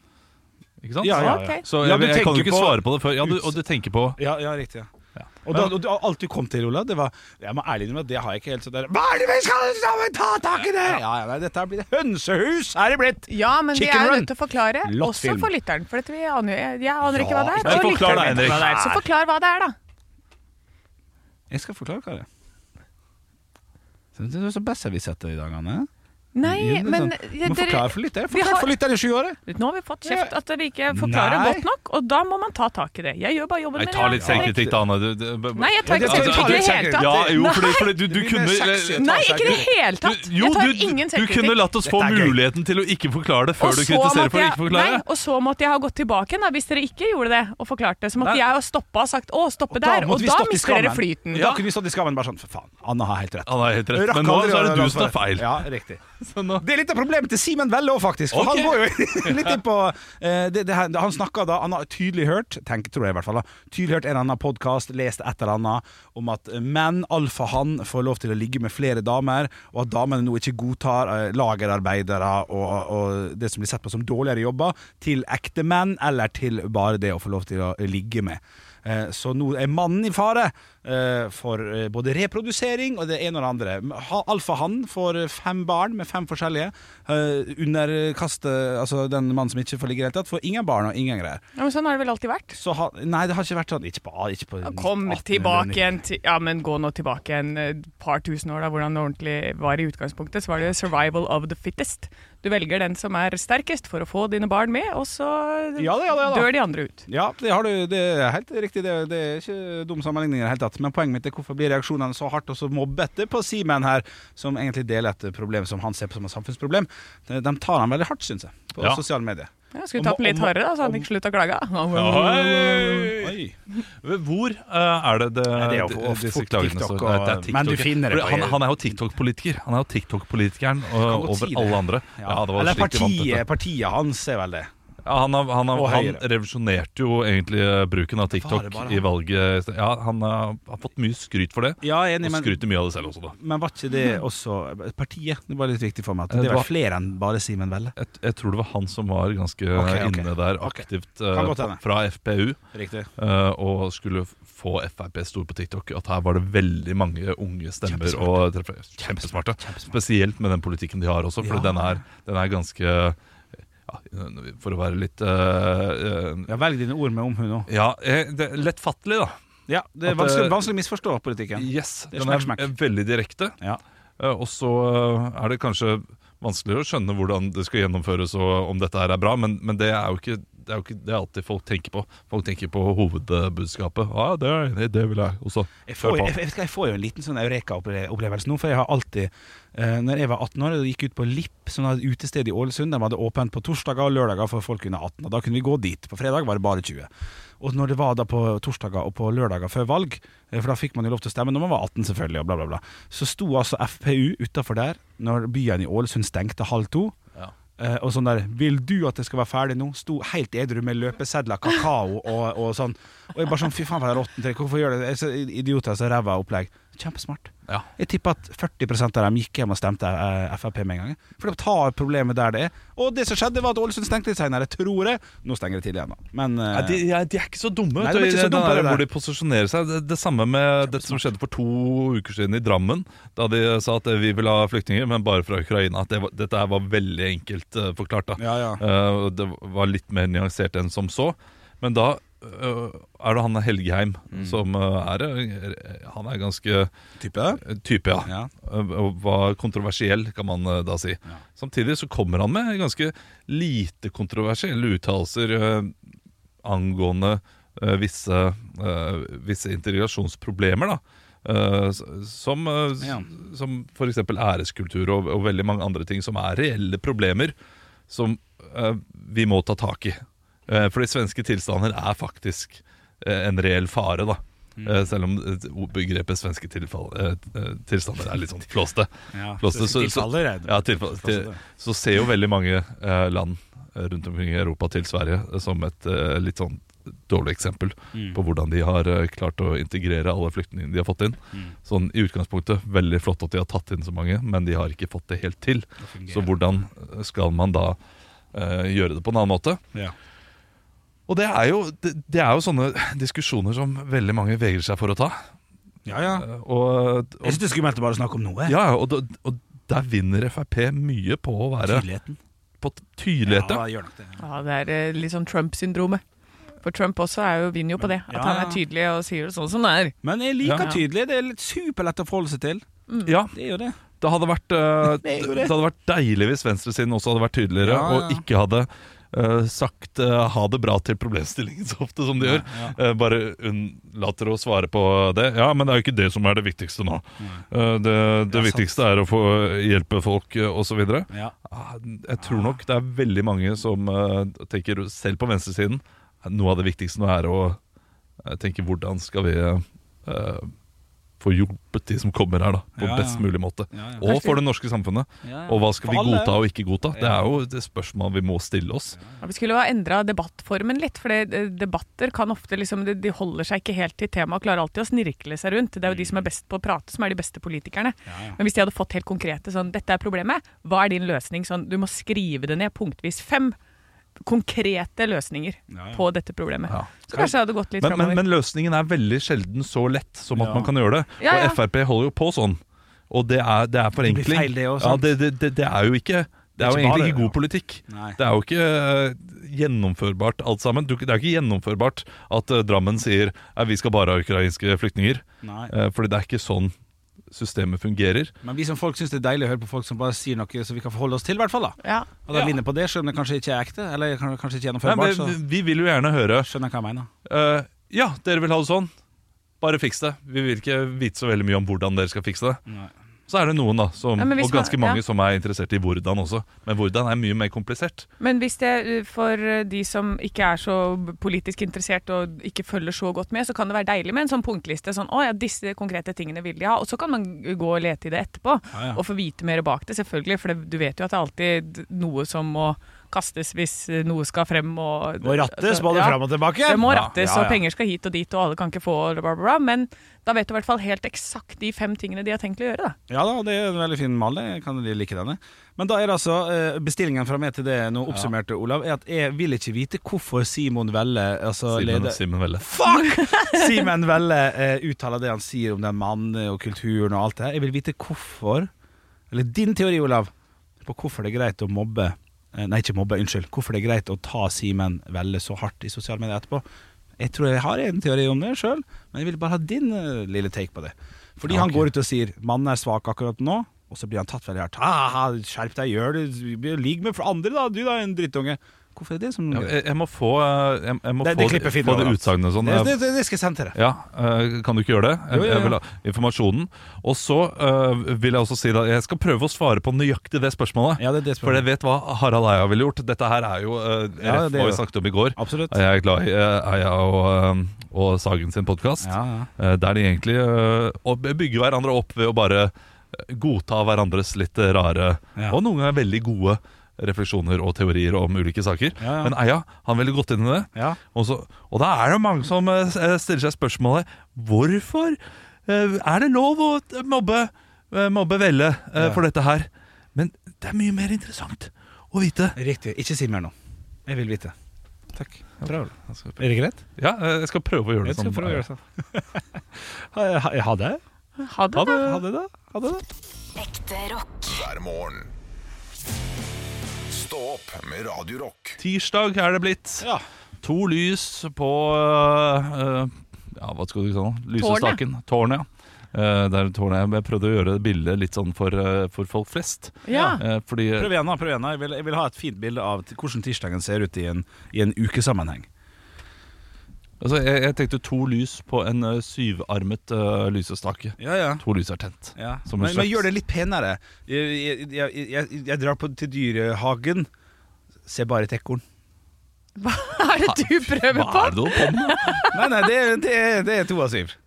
[SPEAKER 3] Ikke sant?
[SPEAKER 2] Ja, ja, ja.
[SPEAKER 4] Ok.
[SPEAKER 3] Så
[SPEAKER 2] Ja,
[SPEAKER 3] jeg,
[SPEAKER 2] du
[SPEAKER 3] jeg, kan jo
[SPEAKER 2] tenker
[SPEAKER 3] ikke
[SPEAKER 2] på-
[SPEAKER 3] svare på det før. Ja, du, og du tenker på
[SPEAKER 2] Ja, ja, riktig. Ja.
[SPEAKER 3] Ja.
[SPEAKER 2] Og, da, og, og alt du kom til, Olav, det var Jeg må ærlig innrømme at det har jeg ikke helt så der Hva er det vi skal sammen ta tak i det?! Ja, ja, nei, dette her blir det hønsehus! Er det blitt!
[SPEAKER 4] Ja, men vi
[SPEAKER 2] Chicken
[SPEAKER 4] er jo
[SPEAKER 2] run.
[SPEAKER 4] nødt til å forklare,
[SPEAKER 2] Lott
[SPEAKER 4] også
[SPEAKER 2] film.
[SPEAKER 4] for lytteren. For dette, vi aner, jo- jeg, jeg aner ikke
[SPEAKER 2] Ja,
[SPEAKER 4] hva det er.
[SPEAKER 2] ikke
[SPEAKER 4] og
[SPEAKER 3] Nei, forklar
[SPEAKER 4] lytteren
[SPEAKER 3] det,
[SPEAKER 4] vet
[SPEAKER 3] Henrik.
[SPEAKER 4] hva det er. Så forklar hva det er, da.
[SPEAKER 2] Jeg skal forklare hva det er. Synes du Det er så besserwisser i dag, Anne.
[SPEAKER 4] Nei, men
[SPEAKER 2] Må forklare sånn. for lyttere. Forklare
[SPEAKER 4] har-
[SPEAKER 2] for lyttere i sju år. jeg.
[SPEAKER 4] Nå har vi fått kjeft at dere ikke forklarer
[SPEAKER 2] Nei.
[SPEAKER 4] godt nok, og da må man ta tak i det. Jeg gjør bare jobben
[SPEAKER 3] Nei, ta
[SPEAKER 4] min,
[SPEAKER 3] litt
[SPEAKER 4] ja. Henrik.
[SPEAKER 3] selvkritikk, da, Anne. Du, du, b- b-
[SPEAKER 4] Nei, jeg tar ikke
[SPEAKER 3] Altså,
[SPEAKER 4] selvkritikk i det
[SPEAKER 2] altså,
[SPEAKER 4] hele tatt.
[SPEAKER 3] Ja, jo, fordi, fordi du, du
[SPEAKER 2] Det blir mer
[SPEAKER 3] kunne
[SPEAKER 2] sexy å ta
[SPEAKER 4] Nei, ikke i det
[SPEAKER 2] selvkritikk.
[SPEAKER 4] hele tatt!
[SPEAKER 3] Du- jo,
[SPEAKER 4] jeg tar
[SPEAKER 3] du-
[SPEAKER 4] ingen
[SPEAKER 3] Du kunne
[SPEAKER 4] selvkritikk.
[SPEAKER 3] latt oss få
[SPEAKER 2] Dette er gøy.
[SPEAKER 3] muligheten til å ikke forklare det før du
[SPEAKER 4] så
[SPEAKER 3] kritiserer
[SPEAKER 4] måtte
[SPEAKER 3] for å
[SPEAKER 4] jeg-
[SPEAKER 3] ikke forklare.
[SPEAKER 4] Nei, og så måtte jeg ha gått tilbake igjen, da, hvis dere ikke gjorde det og forklarte det. Så måtte
[SPEAKER 3] Nei.
[SPEAKER 4] jeg ha stoppa og sagt 'å, stoppe
[SPEAKER 2] Og da
[SPEAKER 4] der',
[SPEAKER 2] måtte
[SPEAKER 4] og
[SPEAKER 2] vi
[SPEAKER 4] da
[SPEAKER 2] stått i
[SPEAKER 4] mister dere
[SPEAKER 2] skammen.
[SPEAKER 4] flyten.
[SPEAKER 2] Da kunne vi stått i skammen bare sånn For faen, Anna har helt rett.
[SPEAKER 3] Han er helt rett.
[SPEAKER 2] Rakk
[SPEAKER 3] Men nå
[SPEAKER 2] aldri
[SPEAKER 3] så er
[SPEAKER 2] å
[SPEAKER 3] det
[SPEAKER 2] gjøre
[SPEAKER 3] du som tar feil.
[SPEAKER 2] Ja, riktig.
[SPEAKER 3] Så nå
[SPEAKER 2] Det er litt av problemet til Simen Velle òg, faktisk. For
[SPEAKER 3] Ok.
[SPEAKER 2] Han går jo litt inn på eh, det, det her, Han snakker da Han har tydelig hørt Tenk, tror jeg i hvert fall da Tydelig hørt en eller annen podkast, lest et eller annet om at eh, menn, alfahann, får lov til å ligge med flere damer, og at damene nå ikke godtar eh, lagerarbeidere og, og det som blir sett på som dårligere jobber, til ekte menn, eller til bare det å få lov til å ligge med. Eh, Så nå er mannen i fare eh, for eh, både reprodusering og det ene og det andre. Ha- Alfahann får eh, fem barn med fem forskjellige. eh, Underkaste altså den mannen som ikke får ligge i det hele tatt, får ingen barn og ingen greier.
[SPEAKER 4] Ja, men sånn har det vel alltid vært.
[SPEAKER 2] Så ha, nei, det har ikke vært sånn. Ikke på, ikke på
[SPEAKER 4] Kom
[SPEAKER 2] 1890.
[SPEAKER 4] tilbake igjen til Ja, men gå nå tilbake igjen et par tusen år, da, hvordan det ordentlig var i utgangspunktet. Så var det 'survival of the fittest'. Du velger den som er sterkest for å få dine barn med, og så
[SPEAKER 2] Ja da, ja da, ja da.
[SPEAKER 4] dør de andre ut.
[SPEAKER 2] Ja, det, har du, det er helt riktig. Det, det er ikke dum sammenligning i det hele tatt. Men poenget mitt er hvorfor blir reaksjonene så hardt og så mobbete på Simen her, som egentlig deler et problem som han ser på som et samfunnsproblem. De de tar han veldig hardt, syns jeg, på
[SPEAKER 3] Ja.
[SPEAKER 2] sosiale medier.
[SPEAKER 4] Ja, skulle tatt den litt hardere, da, så hadde de ikke slutta å klage.
[SPEAKER 3] Oi!
[SPEAKER 2] Oi.
[SPEAKER 3] Hvor eh, er det det,
[SPEAKER 2] det er jo
[SPEAKER 3] de-
[SPEAKER 2] ofte
[SPEAKER 3] disse klagene
[SPEAKER 2] TikTok
[SPEAKER 3] står?
[SPEAKER 2] og-
[SPEAKER 3] Nei, det er TikTok,
[SPEAKER 2] men du
[SPEAKER 3] ja.
[SPEAKER 2] finner det
[SPEAKER 3] Fordi
[SPEAKER 2] på-
[SPEAKER 3] han, han er jo TikTok-politiker. Han er jo TikTok-politikeren eh,
[SPEAKER 2] godt
[SPEAKER 3] over
[SPEAKER 2] si det.
[SPEAKER 3] alle andre. Ja. det var
[SPEAKER 2] Eller
[SPEAKER 3] slik de vant dette.
[SPEAKER 2] partiet, partiet hans er vel det.
[SPEAKER 3] Ja, han, har- han, har-
[SPEAKER 2] Og
[SPEAKER 3] han
[SPEAKER 2] Høyre.
[SPEAKER 3] revolusjonerte jo egentlig eh, bruken av
[SPEAKER 2] var
[SPEAKER 3] TikTok
[SPEAKER 2] det bare
[SPEAKER 3] i valget. Ja, han eh, har fått mye skryt for det,
[SPEAKER 2] Ja, jeg er enig,
[SPEAKER 3] og
[SPEAKER 2] men,
[SPEAKER 3] skryter mye av det selv også, da.
[SPEAKER 2] men var ikke det også Partiet? Det var litt viktig for meg. At
[SPEAKER 3] Eh,
[SPEAKER 2] Mhm. det
[SPEAKER 3] det
[SPEAKER 2] var
[SPEAKER 3] var-
[SPEAKER 2] flere enn bare Simen Velle.
[SPEAKER 3] Jeg, jeg tror det var han som var ganske
[SPEAKER 2] Ok, ok.
[SPEAKER 3] inne der
[SPEAKER 2] Ok.
[SPEAKER 3] aktivt
[SPEAKER 2] Kan
[SPEAKER 3] eh,
[SPEAKER 2] godt hende.
[SPEAKER 3] fra FPU,
[SPEAKER 2] Riktig.
[SPEAKER 3] eh, og skulle f- få Frp stor på TikTok. At her var det veldig mange unge stemmer. Og, treffer- kjempesmarte. Spesielt med den politikken de har også, for
[SPEAKER 2] Ja.
[SPEAKER 3] den, er, den er ganske ja, For å være litt eh, eh,
[SPEAKER 2] Ja, Velg dine ord med omhu nå.
[SPEAKER 3] Ja, eh, det er lettfattelig, da.
[SPEAKER 2] Ja, det er
[SPEAKER 3] At,
[SPEAKER 2] vanskelig,
[SPEAKER 3] eh,
[SPEAKER 2] vanskelig å misforstå politikken.
[SPEAKER 3] Yes,
[SPEAKER 2] Det er
[SPEAKER 3] den
[SPEAKER 2] smack,
[SPEAKER 3] er
[SPEAKER 2] smack.
[SPEAKER 3] eh, veldig direkte.
[SPEAKER 2] Ja.
[SPEAKER 3] Eh, Og så eh, er det kanskje vanskeligere å skjønne hvordan det skal gjennomføres og om dette her er bra, men, men det er jo ikke det er jo ikke det er alltid folk tenker på. Folk tenker på hovedbudskapet. Ja, det, er jeg enig i, det vil jeg også.
[SPEAKER 2] Jeg får,
[SPEAKER 3] Hør
[SPEAKER 2] jeg,
[SPEAKER 3] på.
[SPEAKER 2] jeg, jeg får jo en liten sånn eureka-opplevelse nå, for jeg har alltid eh, Når jeg var 18 år og gikk ut på Lipp, som hadde et utested i Ålesund, de hadde åpent på torsdager og lørdager for folk under 18, og da kunne vi gå dit. På fredag var det bare 20. Og når det var da på torsdager og på lørdager før valg, eh, for da fikk man jo lov til å stemme når man var 18 selvfølgelig, og bla, bla, bla, så sto altså FPU utafor der når byen i Ålesund stengte halv to.
[SPEAKER 3] Ja.
[SPEAKER 2] Eh, og sånn der 'Vil du at det skal være ferdig nå?' Sto helt edru med løpesedler, kakao og, og sånn. Og jeg bare sånn 'Fy faen, for en råtten trekk. Hvorfor gjør dere det?' Så Idioter så ræva opplegg. Kjempesmart.
[SPEAKER 3] Ja.
[SPEAKER 2] Jeg tipper at 40 av dem gikk hjem og stemte eh, Frp med en gang. For de tar problemet der det er. Og det som skjedde, var at Ålesund stengte litt seinere, tror jeg. Nå stenger de tidlig igjen, da. Men eh,
[SPEAKER 3] Nei, de, ja, de er ikke så dumme. vet
[SPEAKER 2] Nei, de er
[SPEAKER 3] du,
[SPEAKER 2] ikke så
[SPEAKER 3] i den
[SPEAKER 2] dumme på
[SPEAKER 3] der
[SPEAKER 2] det der.
[SPEAKER 3] Hvor de posisjonerer seg. Det, det samme med det som skjedde for to uker siden i Drammen. Da de sa at eh, vi vil ha flyktninger, men bare fra Ukraina. At det var, dette her var veldig enkelt eh, forklart. da
[SPEAKER 2] Ja, ja.
[SPEAKER 3] Eh, og det var litt mer nyansert enn som så. Men da eh, er det han Helgheim
[SPEAKER 2] Mm.
[SPEAKER 3] som eh, er eh, Han er ganske
[SPEAKER 2] type?
[SPEAKER 3] eh, type, ja.
[SPEAKER 2] Ja.
[SPEAKER 3] Eh, Og var kontroversiell, kan man eh, da si. Samtidig så kommer han med ganske lite kontroversielle uttalelser eh, angående eh, visse, eh, visse integrasjonsproblemer, da. Eh, s- som, uh,
[SPEAKER 2] Ja.
[SPEAKER 3] som f.eks. æreskultur og, og veldig mange andre ting som er reelle problemer som eh, vi må ta tak i. Eh, fordi svenske tilstander er faktisk eh, en reell fare, da.
[SPEAKER 2] Mm.
[SPEAKER 3] Eh, selv om eh, begrepet svenske tilfall, eh, eh, tilstander er litt sånn flåste.
[SPEAKER 2] Ja,
[SPEAKER 3] Flåste, så- så-
[SPEAKER 2] tilfaller, er det.
[SPEAKER 3] Ja, tilfall, til, så ser jo veldig mange eh, land rundt omkring i Europa til Sverige eh, som et eh, litt sånn dårlig eksempel på hvordan de har eh, klart å integrere alle flyktningene de har fått inn. Sånn i utgangspunktet, veldig flott at de har tatt inn så mange, men de har ikke fått det helt til. Så hvordan skal man da eh, gjøre det på en annen måte?
[SPEAKER 2] Ja.
[SPEAKER 3] Og det er, jo, det, det er jo sånne diskusjoner som veldig mange vegrer seg for å ta.
[SPEAKER 2] ja, ja.
[SPEAKER 3] Eh, Og,
[SPEAKER 2] Jeg syns
[SPEAKER 3] og,
[SPEAKER 2] det er skummelt å bare snakke om noe.
[SPEAKER 3] ja, og, da- og der vinner Frp mye på å være
[SPEAKER 2] Tydeligheten.
[SPEAKER 3] på
[SPEAKER 2] Ja,
[SPEAKER 3] tydelighet. ja.
[SPEAKER 2] gjør nok det.
[SPEAKER 4] Ja, det er eh, litt sånn Trump-syndromet. For Trump også er jo, vinner jo på det. At
[SPEAKER 2] ja,
[SPEAKER 4] han
[SPEAKER 2] ja.
[SPEAKER 4] er tydelig og sier det sånn som det er.
[SPEAKER 2] Men jeg liker
[SPEAKER 4] Ja.
[SPEAKER 2] tydelig. Det er litt superlett å forholde seg til.
[SPEAKER 3] Ja,
[SPEAKER 2] Det er jo det.
[SPEAKER 3] det hadde vært, eh,
[SPEAKER 2] Det er jo
[SPEAKER 3] det.
[SPEAKER 2] det.
[SPEAKER 3] hadde vært deilig hvis venstresiden også hadde vært tydeligere
[SPEAKER 2] Ja, ja.
[SPEAKER 3] og ikke hadde eh, sagt eh, ha det bra til problemstillingen så ofte som de gjør. Eh, bare unnlater å svare på det. Ja, men det er jo ikke det som er det viktigste nå. Eh, det det viktigste er å få hjelpe folk eh, og så videre
[SPEAKER 2] Ja.
[SPEAKER 3] Ah, Jeg tror nok det er veldig mange som eh, tenker, selv på venstresiden, noe av det viktigste nå er å eh, tenke hvordan skal vi eh, får hjulpet de som kommer her, da, på
[SPEAKER 2] Ja, ja.
[SPEAKER 3] best mulig måte.
[SPEAKER 2] Ja, ja.
[SPEAKER 3] Og for det norske samfunnet. Og hva skal vi godta og ikke godta? Det er jo et spørsmål vi må stille oss.
[SPEAKER 4] Ja, Vi skulle ha endra debattformen litt, for det- eh, debatter kan ofte liksom, de- de holder seg ikke helt til temaet og klarer alltid å snirkle seg rundt. Det er jo de som er best på å prate, som er de beste politikerne. Men hvis de hadde fått helt konkrete sånn Dette er problemet, hva er din løsning? Sånn, du må skrive det ned punktvis. Fem konkrete løsninger
[SPEAKER 2] Ja, ja.
[SPEAKER 4] på dette problemet.
[SPEAKER 3] Ja.
[SPEAKER 4] Så kanskje det hadde gått litt
[SPEAKER 3] Men, men,
[SPEAKER 4] framover.
[SPEAKER 3] men løsningen er veldig sjelden så lett som at
[SPEAKER 2] Ja.
[SPEAKER 3] man kan gjøre det.
[SPEAKER 4] Ja, ja.
[SPEAKER 3] Og Frp holder jo på sånn. Og det er, det er forenkling.
[SPEAKER 2] blir feil det også,
[SPEAKER 3] ja,
[SPEAKER 2] sant?
[SPEAKER 3] det, det, det, det er jo ikke det er jo
[SPEAKER 2] Det er ikke
[SPEAKER 3] egentlig
[SPEAKER 2] bare-
[SPEAKER 3] ikke god politikk.
[SPEAKER 2] Nei.
[SPEAKER 3] Det er jo ikke eh, gjennomførbart alt sammen. Du, det er jo ikke gjennomførbart at eh, Drammen sier at vi skal bare ha ukrainske flyktninger.
[SPEAKER 2] Nei.
[SPEAKER 3] Eh, fordi det er ikke sånn systemet fungerer.
[SPEAKER 2] Men vi som folk syns det er deilig å høre på folk som bare sier noe som vi kan forholde oss til, i hvert fall. da
[SPEAKER 4] ja.
[SPEAKER 2] Og da vinner på det, selv om det kanskje ikke er ekte. Eller kan- kanskje
[SPEAKER 3] Nei,
[SPEAKER 2] ikke gjennomførbart.
[SPEAKER 3] men,
[SPEAKER 2] Så
[SPEAKER 3] vi- vi vil jo gjerne høre
[SPEAKER 2] skjønner jeg hva jeg mener.
[SPEAKER 3] Eh, Ja, dere vil ha det sånn Bare fiks det Vi vil ikke vite så veldig mye om hvordan dere skal fikse det
[SPEAKER 2] Nei.
[SPEAKER 3] Så er det noen da som,
[SPEAKER 4] Ja, men hvis
[SPEAKER 3] Og ganske
[SPEAKER 4] man- ja.
[SPEAKER 3] mange som er interessert i hvordan også Men hvordan er mye mer komplisert
[SPEAKER 4] Men hvis det uh, for uh, de som ikke er så politisk interessert og ikke følger så godt med, så kan det være deilig med en sånn punktliste. Sånn, å ja, disse konkrete tingene vil de ha. Og så kan man gå og lete i det etterpå
[SPEAKER 2] Ja, ja.
[SPEAKER 4] og få vite mer bak det, selvfølgelig. For det, du vet jo at det er alltid noe som må kastes hvis uh, noe skal frem. Og,
[SPEAKER 2] Og rattes
[SPEAKER 4] altså,
[SPEAKER 2] både
[SPEAKER 4] ja.
[SPEAKER 2] fram og tilbake.
[SPEAKER 4] Det må
[SPEAKER 2] Ja,
[SPEAKER 4] rattes,
[SPEAKER 2] ja, ja.
[SPEAKER 4] og penger skal hit og dit, og alle kan ikke få bla, bla, bla. Men da vet du i hvert fall helt eksakt de fem tingene de har tenkt å gjøre, da.
[SPEAKER 2] Ja da, det er en veldig fin mal. Jeg kan like denne. Men da er det altså eh, bestillingen fra meg til det nå oppsummerte, Olav, er at jeg vil ikke vite hvorfor Simon Velle, altså
[SPEAKER 3] Simen,
[SPEAKER 2] leder
[SPEAKER 3] Simen Velle
[SPEAKER 2] Fuck! Simen Velle eh, uttaler det han sier om den mannen og kulturen og alt det her. Jeg vil vite hvorfor Eller din teori, Olav, på hvorfor det er greit å mobbe eh, Nei, ikke mobbe, unnskyld. Hvorfor det er greit å ta Simen Velle så hardt i sosiale medier etterpå. Jeg tror jeg har en teori om det sjøl, men jeg vil bare ha din eh, lille take på det. Fordi han går ut og sier 'mannen er svak akkurat nå', og så blir han tatt veldig hardt. «Ah, skjerp deg, gjør det. Ligg med andre, da. Du, da, en drittunge. Hvorfor er det som
[SPEAKER 3] ja, jeg, jeg må få, eh, jeg, jeg må
[SPEAKER 2] Det-
[SPEAKER 3] få,
[SPEAKER 2] det klippet finner
[SPEAKER 3] få det
[SPEAKER 2] du, da.
[SPEAKER 3] utsagnet sånn
[SPEAKER 2] det,
[SPEAKER 3] Jeg-
[SPEAKER 2] det, det skal jeg sende til deg.
[SPEAKER 3] Ja, eh, kan du ikke gjøre det? Jeg,
[SPEAKER 2] Jo, jo, jo.
[SPEAKER 3] jeg vil ha informasjonen. Og så eh, vil jeg også si da, jeg skal prøve å svare på nøyaktig det spørsmålet.
[SPEAKER 2] Ja, det er det
[SPEAKER 3] For
[SPEAKER 2] spørsmålet.
[SPEAKER 3] jeg vet hva Harald Eia ville gjort. Dette her er jo uh,
[SPEAKER 2] Ja,
[SPEAKER 3] ref
[SPEAKER 2] det er
[SPEAKER 3] hva vi
[SPEAKER 2] det.
[SPEAKER 3] snakket om i går.
[SPEAKER 2] Absolutt.
[SPEAKER 3] Jeg er glad i eh, Eia og, eh, og Sagen sin podkast,
[SPEAKER 2] Ja, ja.
[SPEAKER 3] der de egentlig eh, og bygger hverandre opp ved å bare eh, godta hverandres litt eh, rare
[SPEAKER 2] Ja.
[SPEAKER 3] og noen ganger veldig gode refleksjoner og teorier om ulike saker.
[SPEAKER 2] Ja, ja.
[SPEAKER 3] Men Eia han ville gått inn i det.
[SPEAKER 2] Ja.
[SPEAKER 3] Og, så, og da er det mange som eh, s- eh, stiller seg spørsmålet Hvorfor eh, er det lov å t- mobbe, eh, mobbe Velle eh,
[SPEAKER 2] Ja.
[SPEAKER 3] for dette her? Men det er mye mer interessant å vite.
[SPEAKER 2] Riktig. Ikke si mer nå. Jeg vil vite. Takk. Bra, Ole.
[SPEAKER 3] Jeg skal,
[SPEAKER 2] Er det greit?
[SPEAKER 3] ja, eh, jeg skal prøve å gjøre det
[SPEAKER 2] Jeg skal
[SPEAKER 3] sånn.
[SPEAKER 2] prøve å gjøre det sånn. Ha- ha- Ha det.
[SPEAKER 4] Ha det, da.
[SPEAKER 2] Ha det, da. Ha det, da.
[SPEAKER 5] Ekte rock.
[SPEAKER 1] hver morgen. Stå opp med Radio Rock.
[SPEAKER 3] Tirsdag er det blitt.
[SPEAKER 2] Ja.
[SPEAKER 3] To lys på eh, Ja, hva skal du si nå? Lysestaken.
[SPEAKER 4] Tårnet.
[SPEAKER 3] Tårnet, ja. Eh, det er tårnet. Jeg- Jeg prøvde å gjøre bildet litt sånn for, eh, for folk flest.
[SPEAKER 4] Ja.
[SPEAKER 3] Eh, fordi
[SPEAKER 2] Prøv igjen, da. prøv igjen da. Jeg vil, jeg vil ha et fint bilde av t- hvordan tirsdagen ser ut i en, i en ukesammenheng.
[SPEAKER 3] Altså, jeg, jeg tenkte to lys på en eh, syvarmet eh, lysestake.
[SPEAKER 2] Ja, ja.
[SPEAKER 3] To lys er tent. Som en
[SPEAKER 2] Men, men
[SPEAKER 3] slags-
[SPEAKER 2] gjør det litt penere. Jeg, jeg, jeg, jeg, jeg drar på, til dyrehagen. Se bare et ekorn.
[SPEAKER 4] Hva er det du prøver
[SPEAKER 3] Hva
[SPEAKER 4] på?
[SPEAKER 3] er det du holder på med?
[SPEAKER 2] Nei, nei, det, det, det er to av syv.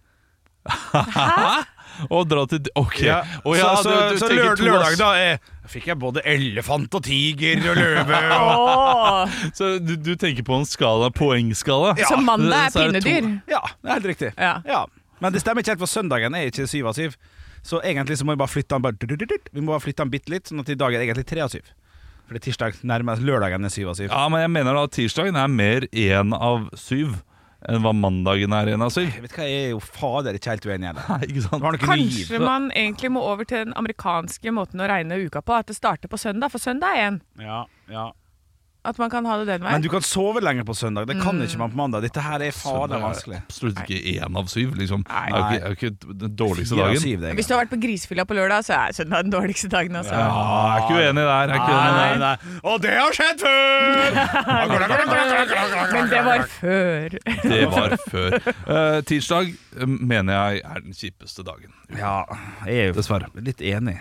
[SPEAKER 3] Å dra til Ok.
[SPEAKER 2] Ja.
[SPEAKER 3] Å ja, altså,
[SPEAKER 2] så så,
[SPEAKER 3] du- du
[SPEAKER 2] så
[SPEAKER 3] tenker
[SPEAKER 2] lørd-
[SPEAKER 3] to,
[SPEAKER 2] lørdag,
[SPEAKER 3] ass.
[SPEAKER 2] da er, fikk jeg både elefant og tiger og løve. Og,
[SPEAKER 4] Åh.
[SPEAKER 3] Så du, du tenker på en skala, poengskala?
[SPEAKER 4] Så mandag er
[SPEAKER 3] Så er det to.
[SPEAKER 4] pinnedyr.
[SPEAKER 2] ja, det er helt riktig.
[SPEAKER 4] Ja.
[SPEAKER 2] Ja. Men det stemmer ikke helt, for søndagen er ikke syv av syv. Så egentlig så må vi bare flytte den bare, Vi må bare flytte den bitte litt, sånn at i dag er det egentlig tre av syv. For det er tirsdag nærmest lørdagen er syv av syv.
[SPEAKER 3] Ja, men jeg mener da at tirsdagen er mer én av syv enn hva mandagen er én av syv.
[SPEAKER 2] Jeg vet hva, jeg er jo fader ikke helt uenig i det.
[SPEAKER 3] Nei, ikke sant?
[SPEAKER 2] Det var noe
[SPEAKER 4] Kanskje
[SPEAKER 2] liv.
[SPEAKER 4] man egentlig må over til den amerikanske måten å regne uka på. At det starter på søndag, for søndag er en.
[SPEAKER 2] Ja, ja.
[SPEAKER 4] At man kan ha det den
[SPEAKER 2] Men
[SPEAKER 4] veien.
[SPEAKER 2] du kan sove lenger på søndag. Det
[SPEAKER 4] Mm.
[SPEAKER 2] kan ikke man på mandag. Dette her er
[SPEAKER 3] Det
[SPEAKER 2] fader
[SPEAKER 3] er
[SPEAKER 2] vanskelig.
[SPEAKER 3] Absolutt ikke én av syv, liksom.
[SPEAKER 2] Nei.
[SPEAKER 3] Det er jo ikke, det er jo ikke den dårligste
[SPEAKER 2] Fire av
[SPEAKER 3] dagen.
[SPEAKER 2] syv, det er
[SPEAKER 4] Hvis du har vært på grisefylla på lørdag, så er søndag den dårligste dagen. Altså.
[SPEAKER 3] Ja, jeg er ikke uenig der. Jeg er ikke uenig der.
[SPEAKER 2] nei. Og det har skjedd før!
[SPEAKER 4] Men det var før.
[SPEAKER 3] Det var før. Eh, tirsdag eh, mener jeg er den kjipeste dagen.
[SPEAKER 2] Ja, jeg er jo dessverre litt enig.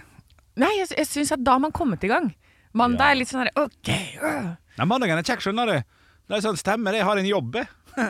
[SPEAKER 4] Nei, jeg, jeg syns at da har man kommet i gang. Mandag er litt sånn her OK. øh.
[SPEAKER 2] Nei, Mandagen er kjekk, skjønner du. Det er sånn, Stemmer, jeg har en jobb, jeg.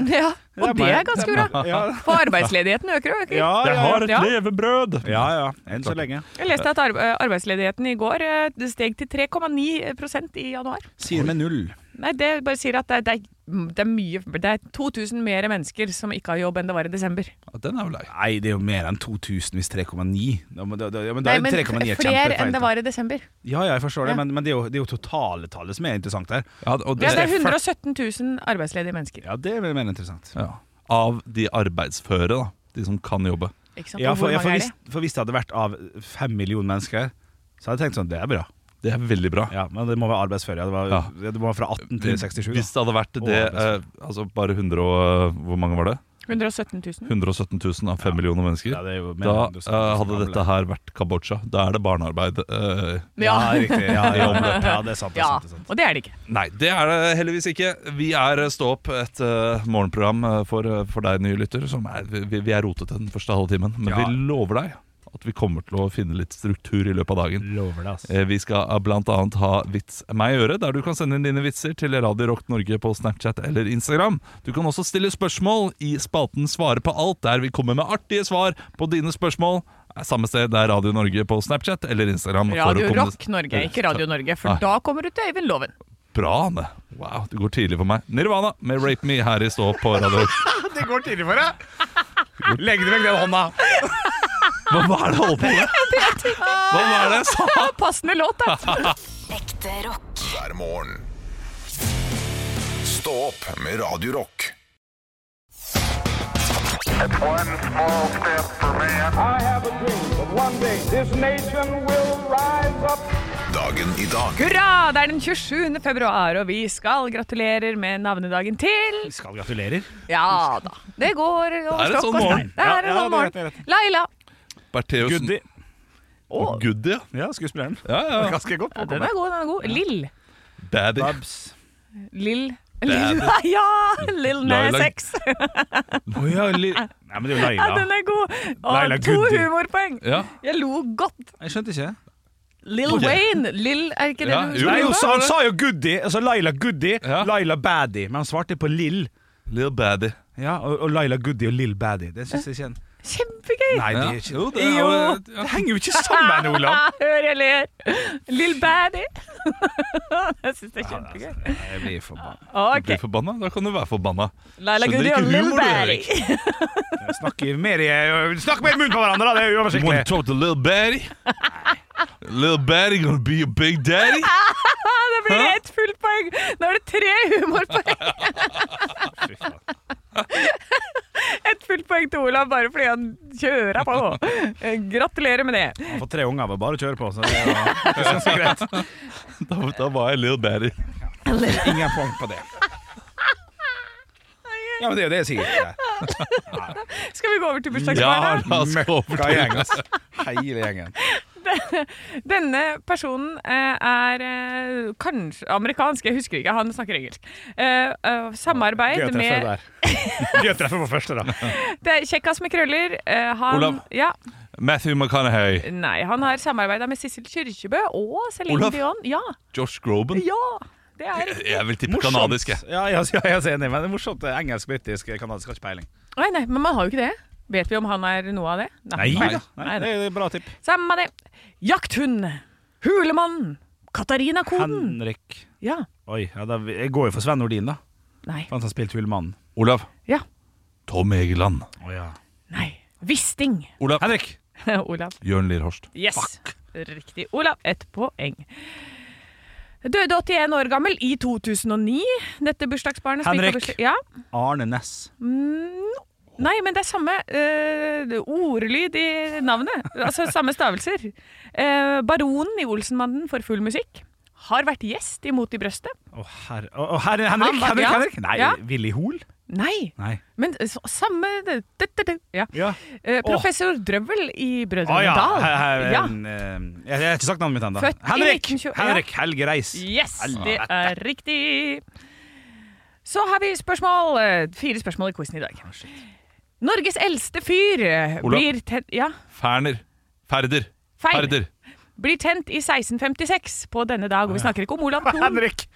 [SPEAKER 4] Ja, og det er
[SPEAKER 2] meg.
[SPEAKER 4] ganske bra.
[SPEAKER 2] Ja,
[SPEAKER 4] For arbeidsledigheten øker jo. øker.
[SPEAKER 2] ja,
[SPEAKER 3] Jeg
[SPEAKER 2] ja,
[SPEAKER 3] har et
[SPEAKER 4] Ja.
[SPEAKER 3] levebrød!
[SPEAKER 2] ja, ja. Enn så lenge.
[SPEAKER 4] Jeg leste at arbe- arbeidsledigheten i går eh, det steg til 3,9 prosent i januar.
[SPEAKER 2] Sier med null.
[SPEAKER 4] Nei, det bare sier at det, det, er, det er mye Det er 2000 mer mennesker som ikke har jobb enn det var i desember.
[SPEAKER 3] Ja, Den er jo lei.
[SPEAKER 2] Nei, det er jo mer enn 2000 hvis 3,9. Da må- da- da- Ja, men da
[SPEAKER 4] Nei,
[SPEAKER 2] er
[SPEAKER 4] men
[SPEAKER 2] 3,9 er
[SPEAKER 4] flere
[SPEAKER 2] kjempefeil.
[SPEAKER 4] enn det var i desember.
[SPEAKER 2] Ja, ja, jeg forstår det,
[SPEAKER 4] Ja.
[SPEAKER 2] men, men det, er jo, det er jo totaletallet som er interessant her.
[SPEAKER 3] Ja, og
[SPEAKER 4] Ja,
[SPEAKER 3] det,
[SPEAKER 4] det er 117 000 arbeidsledige mennesker.
[SPEAKER 2] Ja, det er vel mer interessant.
[SPEAKER 3] ja. Av de arbeidsføre, da. De som kan jobbe.
[SPEAKER 4] Ikke sant?
[SPEAKER 2] Ja,
[SPEAKER 4] Og
[SPEAKER 2] for,
[SPEAKER 4] hvor
[SPEAKER 2] ja, for,
[SPEAKER 4] mange er
[SPEAKER 2] hvis,
[SPEAKER 4] det?
[SPEAKER 2] for hvis det hadde vært av fem millioner mennesker, så hadde jeg tenkt sånn, det er bra.
[SPEAKER 3] Det er veldig bra.
[SPEAKER 2] Ja, Men det må være arbeidsfør. Ja, det, var,
[SPEAKER 3] Ja.
[SPEAKER 2] det må være fra 18 til 67.
[SPEAKER 3] Hvis det hadde vært
[SPEAKER 2] Og
[SPEAKER 3] det eh,
[SPEAKER 2] arbeidsfør.
[SPEAKER 3] Altså bare 100 og eh, Hvor mange var det?
[SPEAKER 4] 117 000.
[SPEAKER 3] 117 000 av 5 millioner mennesker.
[SPEAKER 2] Ja, det er jo mer
[SPEAKER 3] da
[SPEAKER 2] enn du
[SPEAKER 3] eh,
[SPEAKER 2] sa, du
[SPEAKER 3] hadde
[SPEAKER 2] skal
[SPEAKER 3] dette her vært Kambodsja. Da er det barnearbeid. eh,
[SPEAKER 2] Ja,
[SPEAKER 4] Ja.
[SPEAKER 2] riktig. Ja, ja, ja, ja, det er sant. Det er
[SPEAKER 4] ja.
[SPEAKER 2] sant, det er sant.
[SPEAKER 4] Og det er det ikke.
[SPEAKER 3] Nei, det er det heldigvis ikke. Vi er Stå opp, et eh, morgenprogram eh, for, eh, for deg nye lytter. Som er, vi, vi er rotete den første halve timen, men
[SPEAKER 2] Ja.
[SPEAKER 3] vi lover deg at vi kommer til å finne litt struktur i løpet av dagen.
[SPEAKER 2] Lover det, altså.
[SPEAKER 3] Eh, Vi skal eh, blant annet ha Vits meg i øret, der du kan sende inn dine vitser til Radio Rock Norge på Snapchat eller Instagram. Du kan også stille spørsmål i spalten Svare på alt, der vi kommer med artige svar på dine spørsmål. Eh, Samme sted det er Radio Norge på Snapchat eller Instagram. for å
[SPEAKER 4] Radio
[SPEAKER 3] kommunis-
[SPEAKER 4] Rock Norge, ikke Radio Norge. For
[SPEAKER 3] Nei.
[SPEAKER 4] da kommer du til Øyvind Loven.
[SPEAKER 3] Bra, Anne. Wow, du går tidlig for meg. Nirvana med Rape Me her i Stå opp på Radio Rock.
[SPEAKER 2] Det går tidlig for deg! Legg det vekk den hånda.
[SPEAKER 3] Hva, hva er det jeg holder på med? Hva var det jeg sa?
[SPEAKER 4] Passende låt, da.
[SPEAKER 5] Ekte rock.
[SPEAKER 1] hver morgen. Stå opp med Radio Rock.
[SPEAKER 6] One small step for man. I have a dream that one day this nation will rise up.
[SPEAKER 1] Dagen i dag
[SPEAKER 4] Hurra! Det er den 27. februar, og vi skal gratulerer med navnedagen til
[SPEAKER 2] Vi skal gratulerer.
[SPEAKER 4] Ja da. Det går over
[SPEAKER 3] Det er en
[SPEAKER 4] stokk
[SPEAKER 3] sånn
[SPEAKER 4] og stein.
[SPEAKER 3] morgen.
[SPEAKER 4] Det
[SPEAKER 2] Ja,
[SPEAKER 4] er en
[SPEAKER 2] ja,
[SPEAKER 4] sånn
[SPEAKER 2] det er rett, det er
[SPEAKER 4] morgen. Laila.
[SPEAKER 3] Bertheussen.
[SPEAKER 2] Goody.
[SPEAKER 3] Og Goody, ja.
[SPEAKER 2] Ja, skuespilleren.
[SPEAKER 3] Ja, ja.
[SPEAKER 2] Ganske godt.
[SPEAKER 4] Ja, den er god, den er god. Lill.
[SPEAKER 3] Daddy.
[SPEAKER 2] Babs.
[SPEAKER 4] Lill. Lill. Ja! Lill
[SPEAKER 3] Laila.
[SPEAKER 4] Nas X.
[SPEAKER 2] Oh, ja, li... Nei, men det er jo
[SPEAKER 4] Ja,
[SPEAKER 2] Laila.
[SPEAKER 4] den er god.
[SPEAKER 2] Laila
[SPEAKER 4] Og to
[SPEAKER 2] Goody.
[SPEAKER 4] humorpoeng.
[SPEAKER 3] Ja.
[SPEAKER 4] Jeg lo godt.
[SPEAKER 2] Jeg skjønte ikke.
[SPEAKER 4] Lill Wayne. Lill, er ikke det
[SPEAKER 3] Ja,
[SPEAKER 4] du
[SPEAKER 3] jo,
[SPEAKER 2] Nei,
[SPEAKER 3] jo,
[SPEAKER 2] hun sa,
[SPEAKER 3] var
[SPEAKER 2] han
[SPEAKER 3] det?
[SPEAKER 2] sa jo Goody, altså Laila Goody,
[SPEAKER 3] Ja.
[SPEAKER 2] Laila Baddy, men han svarte på Lill.
[SPEAKER 3] Little Baddy.
[SPEAKER 2] Ja, og, og Laila Goody og Lill Baddy. Det syns jeg ikke er-
[SPEAKER 4] Kjempegøy.
[SPEAKER 2] Nei, det
[SPEAKER 3] Ja.
[SPEAKER 2] er ikke Jo,
[SPEAKER 4] er jo-
[SPEAKER 2] det, henger jo ikke sammen, Olav.
[SPEAKER 4] Hør jeg ler. Lill Baddy. Jeg syns det er kjempegøy.
[SPEAKER 2] Jeg blir forbanna.
[SPEAKER 3] Du
[SPEAKER 4] Ok.
[SPEAKER 3] blir forbanna? Da kan du være forbanna.
[SPEAKER 4] Laila
[SPEAKER 3] Skjønner
[SPEAKER 4] Goody
[SPEAKER 3] ikke
[SPEAKER 4] og Lill
[SPEAKER 3] humor, du,
[SPEAKER 4] Baddy.
[SPEAKER 3] Erik.
[SPEAKER 2] Snakk mer i snakk mer i munnen på hverandre, da! Det er
[SPEAKER 3] Wanna
[SPEAKER 2] uoversiktlig.
[SPEAKER 3] talk to little Baddy? little Baddy gonna be your big daddy?
[SPEAKER 4] Det blir ett fullt poeng. Nå er det tre humorpoeng.
[SPEAKER 2] Fy faen.
[SPEAKER 4] Ett fullt poeng til Olav bare fordi han kjører på. Eh, Gratulerer med det.
[SPEAKER 2] Han får tre unger ved bare å kjøre på, så det er det er ganske greit.
[SPEAKER 3] Da, da var jeg little Baddy.
[SPEAKER 2] Ingen poeng på det. Ja, men det er jo det jeg sier.
[SPEAKER 4] Skal vi gå over til
[SPEAKER 3] Ja,
[SPEAKER 4] bursdagsbarna?
[SPEAKER 3] la oss gå over
[SPEAKER 2] Møkka gjeng,
[SPEAKER 3] til
[SPEAKER 2] ass. altså? Hele gjengen.
[SPEAKER 4] Denne personen eh, er eh, kanskje amerikansk, jeg husker ikke, han snakker engelsk. Eh, eh,
[SPEAKER 2] Gøy å
[SPEAKER 4] Samarbeid
[SPEAKER 2] treffe
[SPEAKER 4] med
[SPEAKER 2] der. Gøy å treffe på første, da.
[SPEAKER 4] Det er Kjekkas med krøller. eh, han,
[SPEAKER 3] Olav.
[SPEAKER 4] Ja,
[SPEAKER 3] Matthew McConaughey.
[SPEAKER 4] nei, han har samarbeida med Sissel Kyrkjebø og Céline
[SPEAKER 3] Olav.
[SPEAKER 4] Dion. Ja,
[SPEAKER 3] Josh Groban.
[SPEAKER 4] ja! Det er
[SPEAKER 3] Jeg vil tippe kanadisk, jeg.
[SPEAKER 2] Ja, jeg, jeg er så enig, men det er morsomt. Det er Engelsk, britisk, kanadisk, har ikke peiling.
[SPEAKER 4] Nei, nei, men man har jo ikke det. Vet vi om han er noe av det?
[SPEAKER 2] da. Nei, det er et bra tipp.
[SPEAKER 4] Samme det. Jakthund. Hulemann. Katarina
[SPEAKER 2] Hmm.
[SPEAKER 4] Koden.
[SPEAKER 2] Henrik.
[SPEAKER 4] Ja.
[SPEAKER 2] Oi, ja, da, jeg går jo for Sven Nordin, da.
[SPEAKER 4] Nei.
[SPEAKER 2] For han som spilte Hullmannen.
[SPEAKER 3] Olav.
[SPEAKER 4] Ja.
[SPEAKER 3] Tom Egeland.
[SPEAKER 4] Nei. Wisting.
[SPEAKER 3] Olav.
[SPEAKER 2] Henrik!
[SPEAKER 4] Olav.
[SPEAKER 3] Jørn Lierhorst.
[SPEAKER 4] Yes. Riktig. Olav, ett poeng. Døde 81 år gammel i 2009. Dette bursdagsbarnet som
[SPEAKER 2] Henrik.
[SPEAKER 4] ikke har bursdag- Ja. Mm,
[SPEAKER 2] Arne Næss.
[SPEAKER 4] Nei, men det er samme eh, ordlyd i navnet. Altså samme stavelser. Eh, baronen i Olsenmannen for full musikk. Har vært gjest i Mot i brøstet.
[SPEAKER 2] Å, herre Å, å, herre Henrik!
[SPEAKER 4] Han var-
[SPEAKER 2] Henrik,
[SPEAKER 4] ja.
[SPEAKER 2] Henrik! Nei,
[SPEAKER 4] Ja.
[SPEAKER 2] Willy Hoel?
[SPEAKER 4] Nei,
[SPEAKER 2] Nei.
[SPEAKER 4] men så, samme det, det, det, det. Ja.
[SPEAKER 2] Ja.
[SPEAKER 4] Eh, professor Drøvel i
[SPEAKER 2] Å
[SPEAKER 4] Brødrene
[SPEAKER 2] ja.
[SPEAKER 4] Dal.
[SPEAKER 2] Her, her,
[SPEAKER 4] Ja.
[SPEAKER 2] en, eh, jeg, jeg har ikke sagt navnet mitt ennå.
[SPEAKER 4] Født i
[SPEAKER 2] Henrik!
[SPEAKER 4] 1920 ja.
[SPEAKER 2] Henrik Helge Reis.
[SPEAKER 4] Yes, det er riktig. Så har vi spørsmål. eh, Fire spørsmål i quizen i
[SPEAKER 2] Ah,
[SPEAKER 4] dag. Norges eldste fyr eh,
[SPEAKER 3] Olav.
[SPEAKER 4] blir tent, ja,
[SPEAKER 3] Ferner. Ferder.
[SPEAKER 4] Feil.
[SPEAKER 3] Ferder.
[SPEAKER 4] blir tent i 1656 på denne dag. Og vi snakker ikke om Olav Thon.
[SPEAKER 2] Henrik!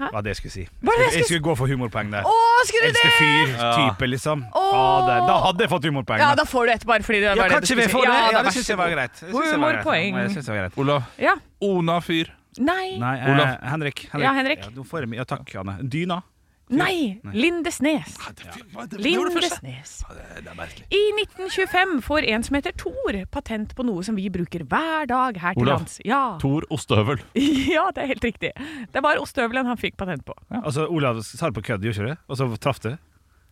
[SPEAKER 2] Hva det skulle si.
[SPEAKER 4] Hva er det jeg
[SPEAKER 2] Jeg skulle gå for humorpoeng der.
[SPEAKER 4] Å, skulle du
[SPEAKER 2] Eldste
[SPEAKER 4] det?!
[SPEAKER 2] fyr, type, liksom.
[SPEAKER 4] Åh.
[SPEAKER 2] Ja, det- da hadde jeg fått humorpoeng.
[SPEAKER 4] Ja,
[SPEAKER 2] da.
[SPEAKER 4] da får du ett bare fordi det
[SPEAKER 2] Ja,
[SPEAKER 4] var det du
[SPEAKER 2] kanskje vi
[SPEAKER 4] skulle
[SPEAKER 2] får
[SPEAKER 4] si.
[SPEAKER 2] det. Ja,
[SPEAKER 4] da,
[SPEAKER 2] det
[SPEAKER 4] vær
[SPEAKER 2] syns
[SPEAKER 4] så
[SPEAKER 2] jeg var
[SPEAKER 4] god.
[SPEAKER 2] greit. Jeg synes det var greit.
[SPEAKER 4] Humorpoeng.
[SPEAKER 2] Ja, Jeg synes det var greit.
[SPEAKER 3] Olav.
[SPEAKER 4] Ja.
[SPEAKER 3] Ona fyr.
[SPEAKER 4] Nei.
[SPEAKER 2] Nei,
[SPEAKER 3] Olav.
[SPEAKER 2] eh, Henrik.
[SPEAKER 4] Ja, Henrik.
[SPEAKER 2] Ja, du får, ja, takk, Anne. Dyna.
[SPEAKER 4] Nei! Lindesnes. Lindesnes. I 1925 får en som heter Thor, patent på noe som vi bruker hver dag her til
[SPEAKER 3] Olav.
[SPEAKER 4] lands. Ja.
[SPEAKER 3] Tor Ostehøvel.
[SPEAKER 4] ja, det er helt riktig. Det var ostehøvelen han fikk patent på.
[SPEAKER 2] Altså, Olav sa det på kødd, gjorde ikke det? Og så traff du?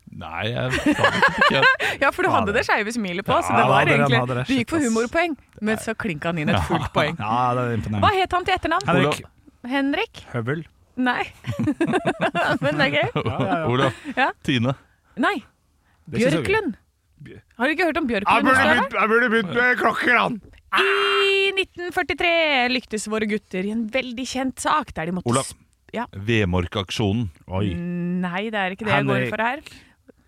[SPEAKER 3] Nei, jeg kan ikke. jeg-
[SPEAKER 4] Ja, for du hadde det skeive smilet på, så det
[SPEAKER 2] han
[SPEAKER 4] var
[SPEAKER 2] hadde det, han hadde
[SPEAKER 4] egentlig
[SPEAKER 2] det.
[SPEAKER 4] Du gikk for
[SPEAKER 2] Shit, ass.
[SPEAKER 4] humorpoeng, men så klinka han inn et fullt poeng.
[SPEAKER 2] Ja, det er
[SPEAKER 4] Hva
[SPEAKER 2] imponerende.
[SPEAKER 4] het han til etternavn?
[SPEAKER 2] Henrik
[SPEAKER 4] Henrik?
[SPEAKER 2] Høvel.
[SPEAKER 4] Nei. men det er gøy.
[SPEAKER 3] Olav.
[SPEAKER 4] Ja.
[SPEAKER 3] Tine.
[SPEAKER 4] Nei.
[SPEAKER 2] Det synes jeg er gøy.
[SPEAKER 4] Bjørklund. Har du ikke hørt om
[SPEAKER 2] Jeg
[SPEAKER 4] Bjørklund?
[SPEAKER 2] burde
[SPEAKER 4] Steinar?
[SPEAKER 2] begynt- jeg burde begynt med klokker, han!
[SPEAKER 4] I 1943 lyktes våre gutter i en veldig kjent sak der de måtte
[SPEAKER 3] Olav.
[SPEAKER 4] sp- Ja.
[SPEAKER 3] Vemork-aksjonen.
[SPEAKER 2] Oi.
[SPEAKER 4] Nei, det er ikke det jeg går
[SPEAKER 2] Henrik.
[SPEAKER 4] for her.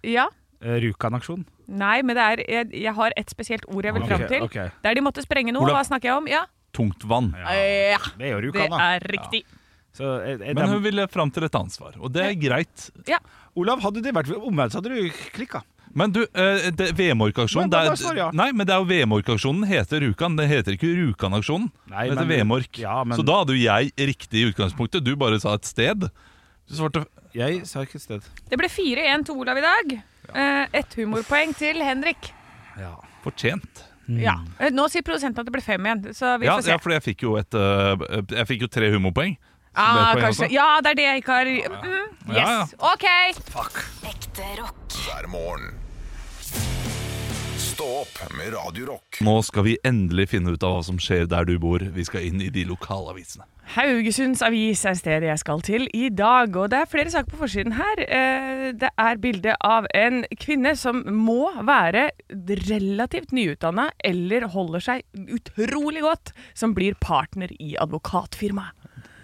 [SPEAKER 4] Ja.
[SPEAKER 2] Eh, Rjukan-aksjon.
[SPEAKER 4] Nei, men det er, jeg, jeg har et spesielt ord jeg vil fram
[SPEAKER 2] Ok,
[SPEAKER 4] til.
[SPEAKER 2] ok.
[SPEAKER 4] Der de måtte sprenge noe.
[SPEAKER 3] Olav.
[SPEAKER 4] Hva snakker jeg om? Ja,
[SPEAKER 3] Tungtvann.
[SPEAKER 4] Eh, ja
[SPEAKER 2] Det er jo
[SPEAKER 4] det
[SPEAKER 2] Rjukan, da.
[SPEAKER 4] er riktig.
[SPEAKER 2] Så, eh, eh,
[SPEAKER 3] Men hun
[SPEAKER 2] dem-
[SPEAKER 3] ville fram til et ansvar, og det er greit.
[SPEAKER 4] Ja.
[SPEAKER 2] Olav, hadde det vært omvendt, så hadde du klikka.
[SPEAKER 3] Men du, eh, det- Vemork-aksjonen
[SPEAKER 2] Men da-
[SPEAKER 3] det er-
[SPEAKER 2] da svarer jeg.
[SPEAKER 3] Nei, men det er jo Vemork-aksjonen heter Rjukan. Det heter ikke Rjukan-aksjonen.
[SPEAKER 2] Nei,
[SPEAKER 3] Det heter
[SPEAKER 2] men-
[SPEAKER 3] Vemork.
[SPEAKER 2] Ja, men-
[SPEAKER 3] Så da hadde jo jeg riktig i utgangspunktet. Du bare sa et sted. Du svarte
[SPEAKER 2] Jeg sa ikke et sted.
[SPEAKER 4] Det ble 4-1 til Olav i dag. Eh, Ett humorpoeng til Henrik.
[SPEAKER 3] fortjent.
[SPEAKER 4] Ja. Eh, Nå sier produsenten at det ble 5 igjen, så
[SPEAKER 3] Mm.
[SPEAKER 4] vi
[SPEAKER 3] Ja,
[SPEAKER 4] får se.
[SPEAKER 3] ja, for jeg fikk jo et eh, Jeg fikk jo tre humorpoeng. Så det er
[SPEAKER 4] ah,
[SPEAKER 3] et poeng
[SPEAKER 4] kanskje.
[SPEAKER 3] også.
[SPEAKER 4] ja, det er det jeg ikke har mm,
[SPEAKER 3] Ja,
[SPEAKER 4] Yes. OK.
[SPEAKER 5] Ekte rock.
[SPEAKER 1] hver morgen. Stå opp med Radio Rock.
[SPEAKER 3] Nå skal vi endelig finne ut av hva som skjer der du bor. Vi skal inn i de lokalavisene.
[SPEAKER 4] Haugesunds avis er stedet jeg skal til i dag, og det er flere saker på forsiden her. Eh, Det er bilde av en kvinne som må være relativt nyutdanna eller holder seg utrolig godt, som blir partner i advokatfirmaet.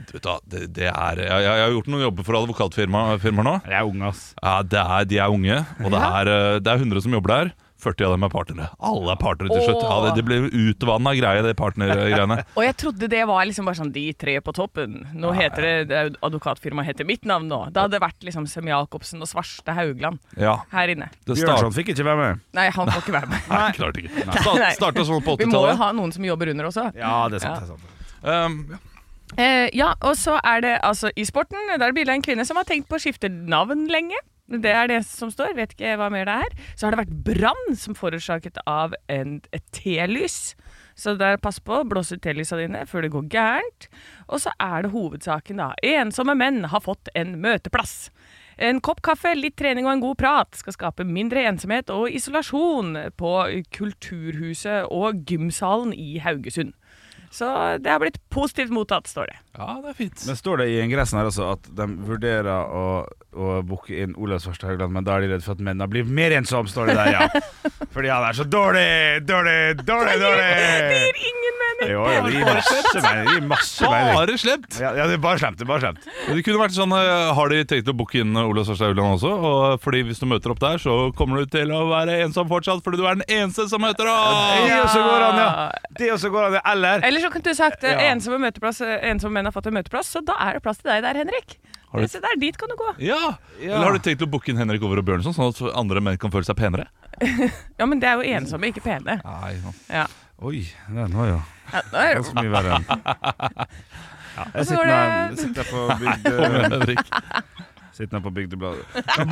[SPEAKER 3] Du vet da, det, det er, jeg, jeg har gjort noen jobber for advokatfirmaer firmaer nå.
[SPEAKER 2] Jeg er ung, ass.
[SPEAKER 3] Ja, det er, De er unge, og det er, eh, det er 100 som jobber der. 40 av dem er partnere. Alle er partnere til slutt. Ja, det, det blir utvanna greie, det partnergreiene.
[SPEAKER 4] Og jeg trodde det var liksom bare sånn de tre på toppen. Nå heter det, det er jo- advokatfirmaet heter mitt navn nå. Det hadde vært liksom Sem-Jacobsen og Svarstad Haugland
[SPEAKER 3] Ja,
[SPEAKER 4] her inne.
[SPEAKER 3] det
[SPEAKER 2] Bjørnson
[SPEAKER 3] start,
[SPEAKER 2] fikk ikke være med.
[SPEAKER 4] Nei, han får ikke være med.
[SPEAKER 3] nei, klart ikke.
[SPEAKER 4] Nei.
[SPEAKER 3] Start, starta sånn på
[SPEAKER 4] Vi må jo
[SPEAKER 3] 80-tallet.
[SPEAKER 4] ha noen som jobber under også.
[SPEAKER 2] Ja, det er sant. Det er sant.
[SPEAKER 3] Um, ja.
[SPEAKER 4] Eh, ja, og så er det altså i sporten, der er det bilde av en kvinne som har tenkt på å skifte navn lenge. Det er det som står, vet ikke hva mer det er. Så har det vært brann som forårsaket av en, et telys. Så der, pass på, blås ut telysene dine før det går gærent. Og så er det hovedsaken, da. Ensomme menn har fått en møteplass. En kopp kaffe, litt trening og en god prat skal skape mindre ensomhet og isolasjon på Kulturhuset og gymsalen i Haugesund. Så det har blitt positivt mottatt, står det.
[SPEAKER 3] ja, det er fint.
[SPEAKER 2] Men står det i ingressen her også at de vurderer å, å booke inn Olav Svarstad Haugland, men da er de redd for at mennene blir mer ensomme, står det der, ja. Fordi han er så dårlig, dårlig, dårlig,
[SPEAKER 4] Det
[SPEAKER 2] dårlig.
[SPEAKER 4] gir ingen mening!
[SPEAKER 2] Jo, jo, det gir masse mening. Det gir masse mening.
[SPEAKER 3] Bare slemt!
[SPEAKER 2] Ja, ja, det er bare slemt. Det er bare slemt.
[SPEAKER 3] Det kunne vært sånn, eh, Har de tenkt å booke inn Ola Svarstad Haugland også? Og eh, fordi Hvis du møter opp der, så kommer du til å være ensom fortsatt, fordi du er den eneste som møter opp!
[SPEAKER 2] Det også går an, ja. Det også går an, ja. Eller
[SPEAKER 4] Eller så kunne du sagt eh,
[SPEAKER 2] Ja.
[SPEAKER 4] ensomme, møteplass, eh, ensomme menn har fått en møteplass, så da er det plass til deg der, Henrik.
[SPEAKER 3] Har du-
[SPEAKER 4] Se der, dit kan du gå.
[SPEAKER 3] Ja. Eller har du tenkt å booke inn Henrik Over og Bjørnson, sånn at andre menn kan føle seg penere?
[SPEAKER 4] Ja, men det er jo ensomme, ikke pene.
[SPEAKER 3] Nei, sånn.
[SPEAKER 4] Ja.
[SPEAKER 2] Oi, den var jo
[SPEAKER 4] Ja, nå er det-
[SPEAKER 2] ganske mye verre enn ja, Jeg
[SPEAKER 4] så
[SPEAKER 2] sitter
[SPEAKER 4] går
[SPEAKER 2] nå-
[SPEAKER 4] det-
[SPEAKER 2] sitter på bygde...
[SPEAKER 3] Kom igjen, Henrik.
[SPEAKER 2] Sittende på Bygdebladet.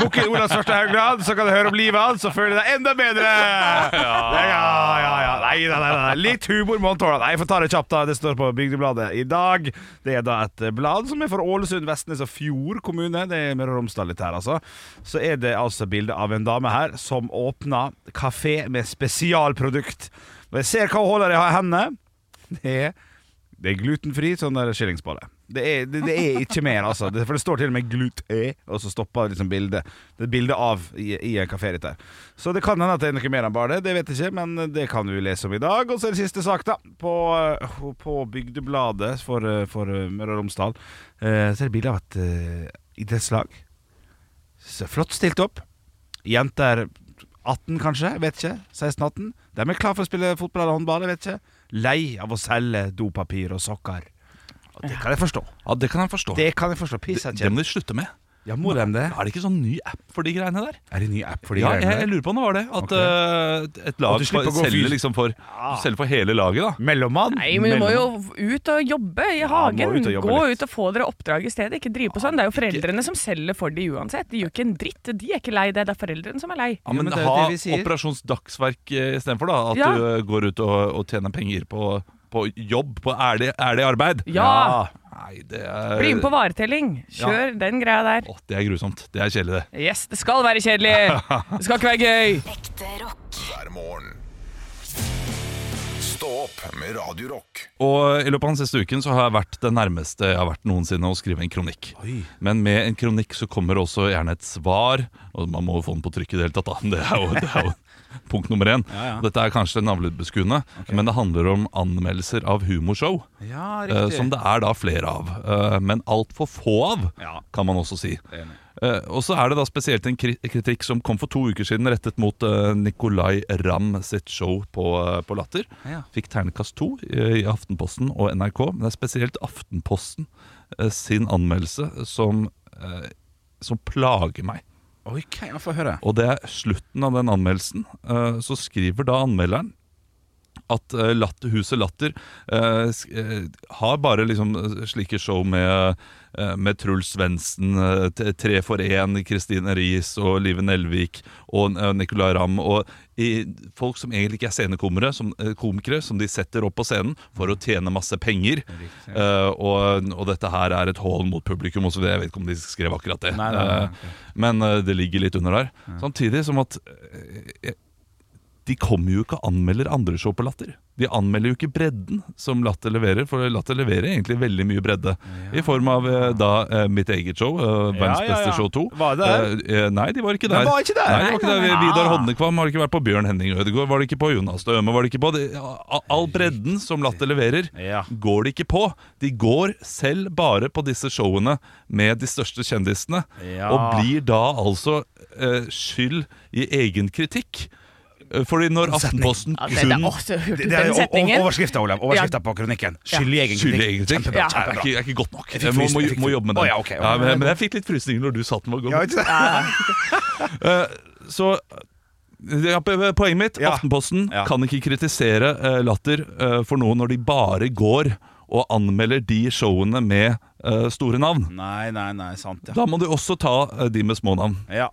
[SPEAKER 2] Bukk inn Ola Svarstad Haugland, så kan du høre om livet hans og føle deg enda bedre! Ja, ja, ja. ja. Nei, nei, nei, nei. Litt humor må han tåle. Nei, jeg får ta det kjapt, da. Det står på Bygdebladet i dag. Det er da et blad som er for Ålesund, Vestnes og Fjord kommune. Det er Møre og Romsdal litt her, altså. Så er det altså bilde av en dame her som åpna kafé med spesialprodukt. Og jeg ser hva hun holder i hendene. Det er det er glutenfri sånn der skillingsbolle. Det er, det, det er ikke mer, altså. Det, for det står til og med glut-e, og så stopper liksom bildet. Det er bilde av i, i en kafé litt der. Så det kan hende at det er noe mer enn bare det, det vet jeg ikke, men det kan vi lese om i dag. Og så er det siste sak, da. På, eh, på Bygdebladet for, eh, for eh, Møre og Romsdal eh, så er det bilde av et eh, idrettslag. Så flott stilt opp. Jenter 18 kanskje, vet ikke. 16-18. De er klar for å spille fotball eller håndball, jeg vet ikke. Lei av å selge dopapir og sokker. Og det kan jeg forstå.
[SPEAKER 3] Ja, Det kan jeg forstå.
[SPEAKER 2] Det kan jeg forstå.
[SPEAKER 3] Det,
[SPEAKER 2] Piss,
[SPEAKER 3] det må de slutte med.
[SPEAKER 2] Ja, må de det?
[SPEAKER 3] Er det ikke sånn ny app for de greiene der?
[SPEAKER 2] Er det en ny app for de
[SPEAKER 3] ja,
[SPEAKER 2] greiene
[SPEAKER 3] jeg, jeg
[SPEAKER 2] der?
[SPEAKER 3] lurer på om det var det. At eh, et
[SPEAKER 2] At
[SPEAKER 3] lag
[SPEAKER 2] du slipper å gå
[SPEAKER 3] selger
[SPEAKER 2] fyr-
[SPEAKER 3] liksom for, du selger for hele laget, da.
[SPEAKER 2] Mellommann?
[SPEAKER 4] Nei, men du må jo
[SPEAKER 2] Mellom-
[SPEAKER 4] ut og jobbe i
[SPEAKER 2] må
[SPEAKER 4] hagen.
[SPEAKER 2] ut og jobbe
[SPEAKER 4] Gå
[SPEAKER 2] litt. Ah,
[SPEAKER 4] ut og få dere oppdrag i stedet. Ikke drive på sånn. Det er jo foreldrene som selger for de uansett. De gjør ikke en dritt. De er ikke lei det. Det er foreldrene som er lei.
[SPEAKER 3] Ja, men,
[SPEAKER 7] men det er jo
[SPEAKER 3] ha
[SPEAKER 7] det vi sier.
[SPEAKER 3] operasjonsdagsverk istedenfor, da. At
[SPEAKER 4] Ja.
[SPEAKER 3] du eh, går ut og, og tjener penger på, på jobb, på ærlig, ærlig arbeid.
[SPEAKER 4] Ja.
[SPEAKER 3] Nei, det
[SPEAKER 2] Eh,
[SPEAKER 3] er
[SPEAKER 4] Bli med på varetelling. Kjør den greia der.
[SPEAKER 3] Å, det er grusomt. Det er kjedelig, det.
[SPEAKER 4] Yes, det skal være kjedelig. Det skal ikke være gøy.
[SPEAKER 5] Ekte rock.
[SPEAKER 1] hver morgen. Stå opp med Radio Rock.
[SPEAKER 3] Og i løpet av den siste uken så har jeg vært det nærmeste jeg har vært noensinne å skrive en kronikk. Men med en kronikk så kommer også gjerne et svar, og man må jo få den på trykk i det hele tatt, da. Det er jo, det er jo punkt nummer én.
[SPEAKER 2] Ja, ja.
[SPEAKER 3] Dette er kanskje navlebeskuende, men det handler om anmeldelser av humorshow.
[SPEAKER 2] Ja,
[SPEAKER 3] eh,
[SPEAKER 2] riktig.
[SPEAKER 3] som det er da flere av. eh, men altfor få av,
[SPEAKER 2] Ja.
[SPEAKER 3] kan man også si.
[SPEAKER 2] er enig.
[SPEAKER 3] Eh, og så er det da spesielt en kri- kritikk som kom for to uker siden rettet mot eh, Nicolay Ramm sitt show på, eh, på Latter.
[SPEAKER 2] Ja.
[SPEAKER 3] Fikk ternekast to eh, i, i Aftenposten og NRK. Men det er spesielt Aftenposten eh, sin anmeldelse som, eh, som plager meg.
[SPEAKER 2] Ok, ja, få høre.
[SPEAKER 3] Og det er slutten av den anmeldelsen. eh, så skriver da anmelderen at eh, latter, Huset Latter eh, sk- eh, har bare liksom eh, slike show med, eh, med Truls Svendsen, eh, t- Tre for én, Kristine Riis og Live Nelvik og eh, Nicolay Ramm. Og i, folk som egentlig ikke er scenekomere, som, eh, komikere, som de setter opp på scenen for å tjene masse penger. Eh, og, og dette her er et hån mot publikum osv. Jeg vet ikke om de skrev akkurat det.
[SPEAKER 2] Nei, nei, nei,
[SPEAKER 3] Eh,
[SPEAKER 2] ok.
[SPEAKER 3] men eh, det ligger litt under der. Samtidig som at eh, de kommer jo ikke og anmelder andre show på Latter. De anmelder jo ikke bredden som Latter leverer, for Latter leverer egentlig veldig mye bredde. I form av eh, da eh, mitt eget show, eh, Verdens
[SPEAKER 2] Ja, ja, ja.
[SPEAKER 3] beste show 2.
[SPEAKER 2] Var det der?
[SPEAKER 3] Eh, eh, nei, de var ikke
[SPEAKER 2] De
[SPEAKER 3] der.
[SPEAKER 2] var ikke der?
[SPEAKER 3] Nei, de var ikke
[SPEAKER 2] Nei,
[SPEAKER 3] der.
[SPEAKER 2] nei, nei.
[SPEAKER 3] Vidar
[SPEAKER 2] Ah.
[SPEAKER 3] Hodnekvam har ikke vært på Bjørn Henning Ødegaard, var det ikke på Jonas Døme, var det ikke på det, a- All bredden som Latter leverer,
[SPEAKER 2] Ja.
[SPEAKER 3] går de ikke på. De går selv bare på disse showene med de største kjendisene,
[SPEAKER 2] Ja.
[SPEAKER 3] og blir da altså eh, skyld i egen kritikk. Eh, Fordi når Aftenposten
[SPEAKER 4] Ja, det, det,
[SPEAKER 3] kun
[SPEAKER 4] åh, så hørte du
[SPEAKER 2] Det er
[SPEAKER 4] den
[SPEAKER 2] jo o-
[SPEAKER 4] setningen.
[SPEAKER 2] overskrifta, Olav. Overskrifta på kronikken. Skyld i egen
[SPEAKER 3] Skyld i egen kritikk.
[SPEAKER 2] Kjempebra.
[SPEAKER 3] Det er ikke,
[SPEAKER 2] kjempebra.
[SPEAKER 3] er ikke godt nok.
[SPEAKER 2] Jeg fikk
[SPEAKER 3] Jeg må,
[SPEAKER 2] frysning,
[SPEAKER 3] må,
[SPEAKER 2] jeg fikk
[SPEAKER 3] må
[SPEAKER 2] frysning.
[SPEAKER 3] jobbe med
[SPEAKER 2] Å,
[SPEAKER 3] den.
[SPEAKER 2] ja, ok, ok.
[SPEAKER 3] Ja, men, men jeg fikk litt frysninger når du satt den var god.
[SPEAKER 2] Ja, ikke sant?
[SPEAKER 3] Så ja, p- p- Poenget mitt
[SPEAKER 2] Ja.
[SPEAKER 3] Aftenposten
[SPEAKER 2] Ja.
[SPEAKER 3] kan ikke kritisere eh, Latter eh, for noe når de bare går og anmelder de showene med eh, store navn.
[SPEAKER 2] Nei, nei, nei, sant, ja.
[SPEAKER 3] Da må de også ta eh, de med små navn.
[SPEAKER 2] Ja.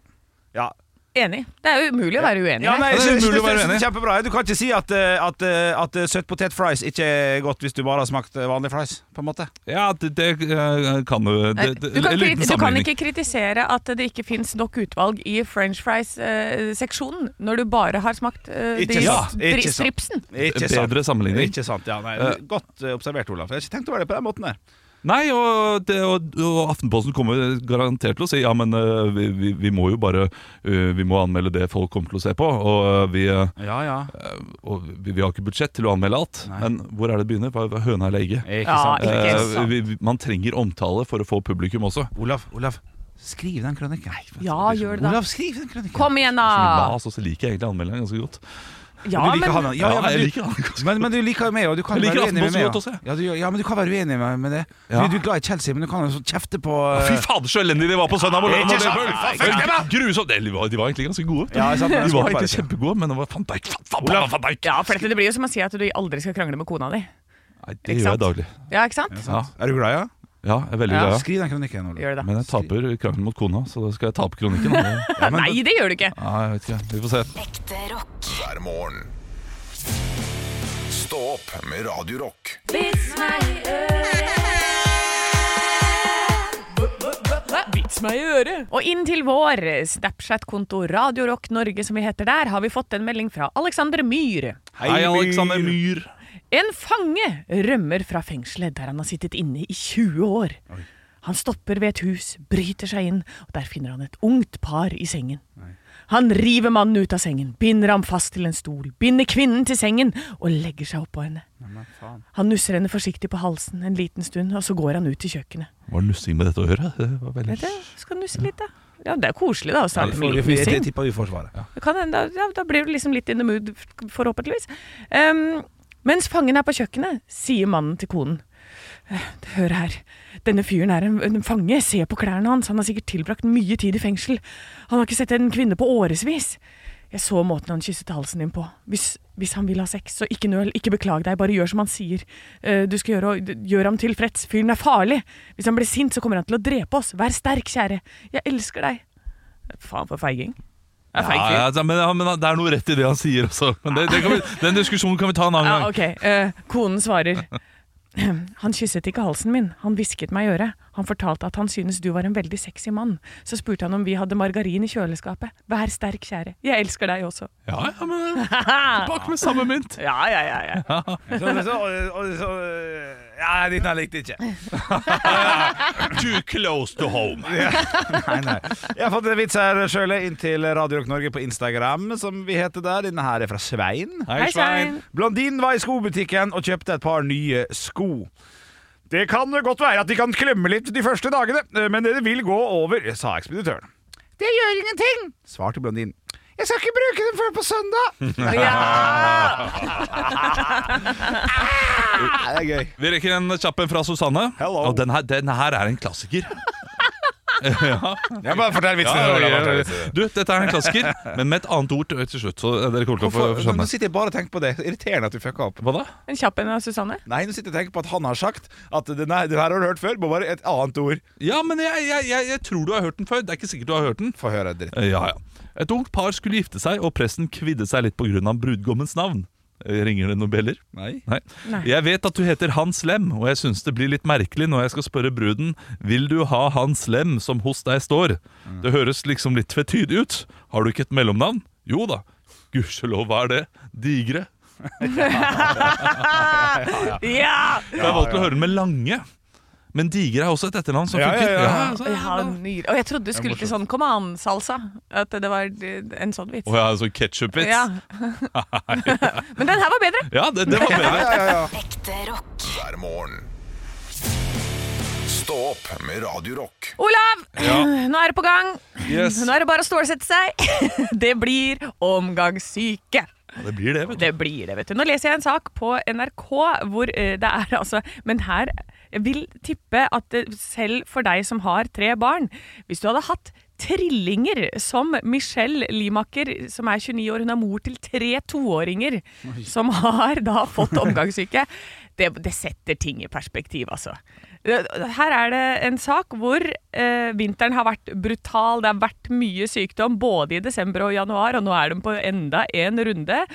[SPEAKER 2] ja.
[SPEAKER 4] Enig. Det er jo umulig å være uenig
[SPEAKER 2] Ja,
[SPEAKER 4] her.
[SPEAKER 2] nei,
[SPEAKER 3] Ja, det er
[SPEAKER 2] jeg synes-
[SPEAKER 3] umulig å
[SPEAKER 2] jeg
[SPEAKER 3] være
[SPEAKER 2] synes det er
[SPEAKER 3] uenig.
[SPEAKER 2] Kjempebra. Du kan ikke si at, eh, at, eh, at eh, søt potet fries ikke er godt hvis du bare har smakt eh, vanlig fries, på en måte.
[SPEAKER 3] Ja, det, det eh, kan jo det-
[SPEAKER 4] Nei,
[SPEAKER 3] det-
[SPEAKER 4] Du kan,
[SPEAKER 3] en liten
[SPEAKER 4] ikke, du kan
[SPEAKER 3] sammenligning.
[SPEAKER 4] ikke kritisere at det ikke fins nok utvalg i french fries-seksjonen, når du bare har smakt eh,
[SPEAKER 2] Ikke
[SPEAKER 4] de,
[SPEAKER 2] sant,
[SPEAKER 4] dri-
[SPEAKER 2] ikke sant.
[SPEAKER 4] stripsen.
[SPEAKER 2] Ikke
[SPEAKER 3] Bedre sammenligning.
[SPEAKER 2] Ikke sant, ja. Nei,
[SPEAKER 3] Eh.
[SPEAKER 2] godt eh, observert, Olav. Jeg har ikke tenkt over det på den måten der.
[SPEAKER 3] Nei, og, det, og, og Aftenposten kommer garantert til å si Ja, men eh, vi, vi, vi må jo bare eh, Vi må anmelde det folk kommer til å se på Og, eh, vi, eh,
[SPEAKER 2] Ja, ja.
[SPEAKER 3] og vi, vi har ikke budsjett til å anmelde alt Men hvor er det det begynner? Hva hva er høna eller egget?
[SPEAKER 2] Ikke
[SPEAKER 4] Ja,
[SPEAKER 2] sant.
[SPEAKER 4] ikke
[SPEAKER 3] Eh,
[SPEAKER 4] sant.
[SPEAKER 3] vi, vi, man trenger omtale for å få publikum også
[SPEAKER 2] Olav, Olav, skriv den kronikken.
[SPEAKER 4] Ja, gjør det da.
[SPEAKER 2] Olav, skriv den kronikken.
[SPEAKER 4] Kom igjen, da!
[SPEAKER 3] Mas, og så liker jeg egentlig anmeldingen ganske godt
[SPEAKER 4] Ja,
[SPEAKER 2] du liker
[SPEAKER 4] men
[SPEAKER 2] han, Ah. ja, ja,
[SPEAKER 3] Ja,
[SPEAKER 2] men,
[SPEAKER 3] jeg
[SPEAKER 2] du,
[SPEAKER 3] liker han godt.
[SPEAKER 2] men, men du liker jo meg, og du kan
[SPEAKER 3] Jeg liker
[SPEAKER 2] være uenig med
[SPEAKER 3] Aftenposten
[SPEAKER 2] meg.
[SPEAKER 3] godt
[SPEAKER 2] ja.
[SPEAKER 3] også, jeg.
[SPEAKER 2] Ja, du, gjør- ja, men du kan være uenig med, med det.
[SPEAKER 3] Ja.
[SPEAKER 2] Fordi Du er glad i Chelsea, men du kan jo så kjefte på
[SPEAKER 3] Fy
[SPEAKER 2] eh,
[SPEAKER 3] fader, så elendig de var på søndag mot
[SPEAKER 2] Ikke
[SPEAKER 3] London!
[SPEAKER 2] sant?
[SPEAKER 3] Det
[SPEAKER 2] Fuck dem, da!
[SPEAKER 3] var Grusomt! De var, de var egentlig ganske gode.
[SPEAKER 2] Ja, sant, men
[SPEAKER 3] de
[SPEAKER 2] jeg
[SPEAKER 3] var
[SPEAKER 2] skulle bare
[SPEAKER 3] egentlig
[SPEAKER 2] si.
[SPEAKER 3] kjempegode, men det var van Dijk! Van, van, van, van Dijk.
[SPEAKER 4] ja, for dette, det blir jo som å si at du aldri skal krangle med kona di.
[SPEAKER 3] Nei,
[SPEAKER 4] Ikke
[SPEAKER 3] det gjør
[SPEAKER 4] sant?
[SPEAKER 3] jeg daglig.
[SPEAKER 4] Ja, ikke sant?
[SPEAKER 3] Ja,
[SPEAKER 2] Er du glad, ja?
[SPEAKER 3] ja jeg er veldig
[SPEAKER 4] Ja,
[SPEAKER 3] glad. ja.
[SPEAKER 2] Skriv den kronikken, Olav.
[SPEAKER 4] Gjør det, da.
[SPEAKER 3] Men jeg taper krangelen mot kona, så da skal jeg tape kronikken. da.
[SPEAKER 4] Nei, det gjør du ikke!
[SPEAKER 3] Ja, jeg vet ikke, vi får se.
[SPEAKER 5] Ekte rock.
[SPEAKER 1] hver morgen. Stå opp med Radio Rock.
[SPEAKER 4] Vits meg i øret! Og inn til vår Snapchat-konto Radio Rock Norge, som vi heter der, har vi fått en melding fra Alexander Myhr.
[SPEAKER 3] Hei, Alexander Myhr.
[SPEAKER 4] En fange rømmer fra fengselet der han har sittet inne i 20 år. Han stopper ved et hus, bryter seg inn, og der finner han et ungt par i sengen. Han river mannen ut av sengen, binder ham fast til en stol, binder kvinnen til sengen og legger seg oppå henne. Han nusser henne forsiktig på halsen en liten stund, og så går han ut til kjøkkenet.
[SPEAKER 3] Var det nussing med dette å gjøre? Det var veldig...
[SPEAKER 4] Vet du, skal du nusse litt, da? Ja, det er koselig, da, å starte med litt
[SPEAKER 2] Jeg,
[SPEAKER 4] nussing.
[SPEAKER 2] jeg tipper Uforsvaret. Ja.
[SPEAKER 4] Det kan hende, da, ja, da blir du liksom litt in the mood, forhåpentligvis. Ehm, mens fangen er på kjøkkenet, sier mannen til konen. Hør her. Denne fyren er en, en fange. Se på klærne hans. Han har sikkert tilbrakt mye tid i fengsel. Han har ikke sett en kvinne på årevis. Jeg så måten han kysset halsen din på. Hvis, hvis han vil ha sex, så ikke nøl. Ikke beklag deg. Bare gjør som han sier. Eh, Du skal gjøre, og- gjør ham tilfreds. Fyren er farlig. Hvis han blir sint, så kommer han til å drepe oss. Vær sterk, kjære. Jeg elsker deg. Faen for feiging. Jeg er feig fyr.
[SPEAKER 3] Ja, ja, men, ja, men det er noe rett i det han sier også. Men det, det kan vi, den diskusjonen kan vi ta en annen
[SPEAKER 4] Ja,
[SPEAKER 3] gang.
[SPEAKER 4] ok. Eh, konen svarer. Han kysset ikke halsen min, han hvisket meg i øret. Han fortalte at han syntes du var en veldig sexy mann. Så spurte han om vi hadde margarin i kjøleskapet. Vær sterk, kjære. Jeg elsker deg også.
[SPEAKER 3] Ja, ja, men Tilbake med samme mynt.
[SPEAKER 4] Ja, ja, ja. ja.
[SPEAKER 2] Så, så, og- så, eh, ja, ditt her likte jeg ikke.
[SPEAKER 3] Too close to home.
[SPEAKER 2] Nei, nei. Jeg har fått en vits her sjøl inn til Radio Rock Norge på Instagram, som vi heter der. Denne her er fra Svein.
[SPEAKER 3] Hei,
[SPEAKER 2] Blondinen var i skobutikken og kjøpte et par nye sko. Det kan godt være at de kan klemme litt de første dagene, eh, men det vil gå over, sa ekspeditøren. Det gjør ingenting, svarte blondinen. Jeg skal ikke bruke dem før på søndag. Ah! Ja, Ah, det er gøy.
[SPEAKER 3] Vi rekker en kjapp en fra Susanne.
[SPEAKER 2] Hello.
[SPEAKER 3] Og den her, den her er en klassiker.
[SPEAKER 2] Jeg bare fortell vitsen.
[SPEAKER 3] Ja, Du, dette er en klassiker, men med et annet ord til- til slutt. Så dere kommer til å få få
[SPEAKER 2] Nå
[SPEAKER 3] skjønne.
[SPEAKER 2] sitter jeg bare og tenker på det. Irriterende at du fucka opp.
[SPEAKER 3] Hva da?
[SPEAKER 4] En kjapp en av Susanne.
[SPEAKER 2] Nei, nå sitter jeg og tenker på at han har sagt at den her, den her har du hørt før, må bare et annet ord.
[SPEAKER 3] Ja, men jeg, jeg, jeg, jeg tror du har hørt den før. Det er ikke sikkert du har hørt den.
[SPEAKER 2] Få høre dritt.
[SPEAKER 3] Eh, Ja, ja. Et ungt par skulle gifte seg, og presten kvidde seg litt pga. brudgommens navn. Eh, Ringer det noen bjeller?
[SPEAKER 2] Nei.
[SPEAKER 3] Nei.
[SPEAKER 4] Nei.
[SPEAKER 3] Jeg vet at du heter Hans Lem, og jeg syns det blir litt merkelig når jeg skal spørre bruden Vil du ha Hans Lem som hos deg står. Det høres liksom litt tvetydig ut. Har du ikke et mellomnavn? Jo da. Gudskjelov, hva er det? Digre.
[SPEAKER 4] Ja!
[SPEAKER 3] Jeg har valgt å høre den med Lange. Men Digre er også et etternavn som
[SPEAKER 2] Ja, ja,
[SPEAKER 3] funker.
[SPEAKER 2] ja.
[SPEAKER 3] så-
[SPEAKER 4] ja nyr. Og jeg trodde du skulle til sånn kom an, salsa. At det var en sånn vits.
[SPEAKER 3] Å ja, altså, så ketchup-vits.
[SPEAKER 4] Ja.
[SPEAKER 3] Ja,
[SPEAKER 4] Men den her var bedre.
[SPEAKER 3] det, det var bedre.
[SPEAKER 5] Ekte rock.
[SPEAKER 1] hver morgen. Stå opp med Radio Rock.
[SPEAKER 4] Olav, nå er det på gang.
[SPEAKER 3] Yes.
[SPEAKER 4] Nå er det bare å stålsette seg. Det blir omgangssyke.
[SPEAKER 3] Ja, Det blir det, vet du.
[SPEAKER 4] Det blir det, vet du. Nå leser jeg en sak på NRK hvor eh, det er altså Men her jeg vil tippe at det, selv for deg som har tre barn Hvis du hadde hatt trillinger som Michelle Limaker, som er 29 år, hun er mor til tre toåringer som har da fått omgangssyke. Det, det setter ting i perspektiv, altså. Her er det en sak hvor eh, vinteren har vært brutal. Det har vært mye sykdom både i desember og januar, og nå er de på enda en runde.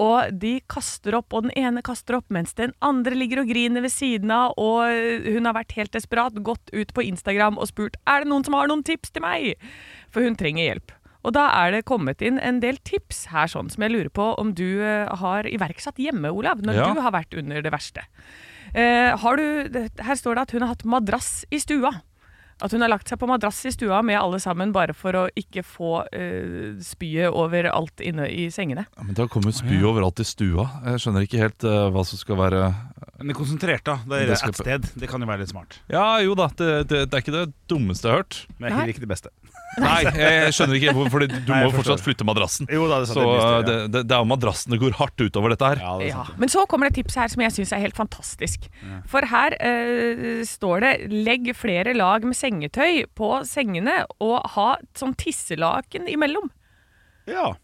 [SPEAKER 4] Og de kaster opp, og den ene kaster opp mens den andre ligger og griner ved siden av. Og hun har vært helt desperat, gått ut på Instagram og spurt er det noen som har noen tips til meg. For hun trenger hjelp. Og da er det kommet inn en del tips her sånn som jeg lurer på om du eh, har iverksatt hjemme, Olav, når
[SPEAKER 3] Ja.
[SPEAKER 4] du har vært under det verste. Eh, har du, det- her står det at hun har hatt madrass i stua. At hun har lagt seg på madrass i stua med alle sammen bare for å ikke få eh, spyet over alt inne i sengene.
[SPEAKER 3] Ja, men Det har kommet spy overalt i stua. Jeg skjønner ikke helt eh, hva som skal være
[SPEAKER 2] Men det er konsentrert, da. Det
[SPEAKER 3] Det
[SPEAKER 2] er
[SPEAKER 3] skal
[SPEAKER 2] ett sted. Det kan jo være litt smart.
[SPEAKER 3] Ja, jo da, det, det, det er ikke det dummeste jeg har hørt.
[SPEAKER 2] Men det er ikke det beste.
[SPEAKER 3] Nei, jeg skjønner ikke, hvor- fordi du må
[SPEAKER 2] Nei, jeg
[SPEAKER 3] jo fortsatt
[SPEAKER 2] forstår.
[SPEAKER 3] flytte madrassen.
[SPEAKER 2] Jo da, det
[SPEAKER 3] Så eh, det, det, det er jo madrassen det går hardt utover dette her.
[SPEAKER 2] Ja, det er
[SPEAKER 4] Ja.
[SPEAKER 2] sant.
[SPEAKER 4] Men så kommer det et tips her som jeg syns er helt fantastisk. For her eh, står det 'legg flere lag med sengetøy på sengene' og ha sånn tisselaken imellom.
[SPEAKER 2] Ja.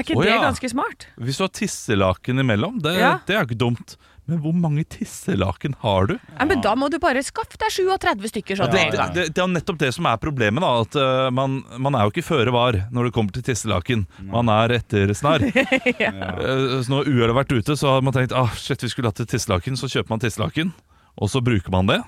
[SPEAKER 4] Er ikke
[SPEAKER 3] Å,
[SPEAKER 4] det
[SPEAKER 3] ja.
[SPEAKER 4] ganske smart?
[SPEAKER 3] Hvis du har tisselaken imellom, det,
[SPEAKER 4] Ja.
[SPEAKER 3] det er jo ikke dumt. Men hvor mange tisselaken har du?
[SPEAKER 4] Nei, men da må du bare skaffe deg 37 stykker sånn
[SPEAKER 3] Det,
[SPEAKER 4] med en
[SPEAKER 3] det,
[SPEAKER 4] gang.
[SPEAKER 3] det, det er nettopp det som er problemet. da At eh, man, man er jo ikke føre var når det kommer til tisselaken. Man er etter snar. Eh, Så når uhellet har vært ute, så har man tenkt ah, shit, vi skulle hatt et tisselaken. Så kjøper man tisselaken, og så bruker man det.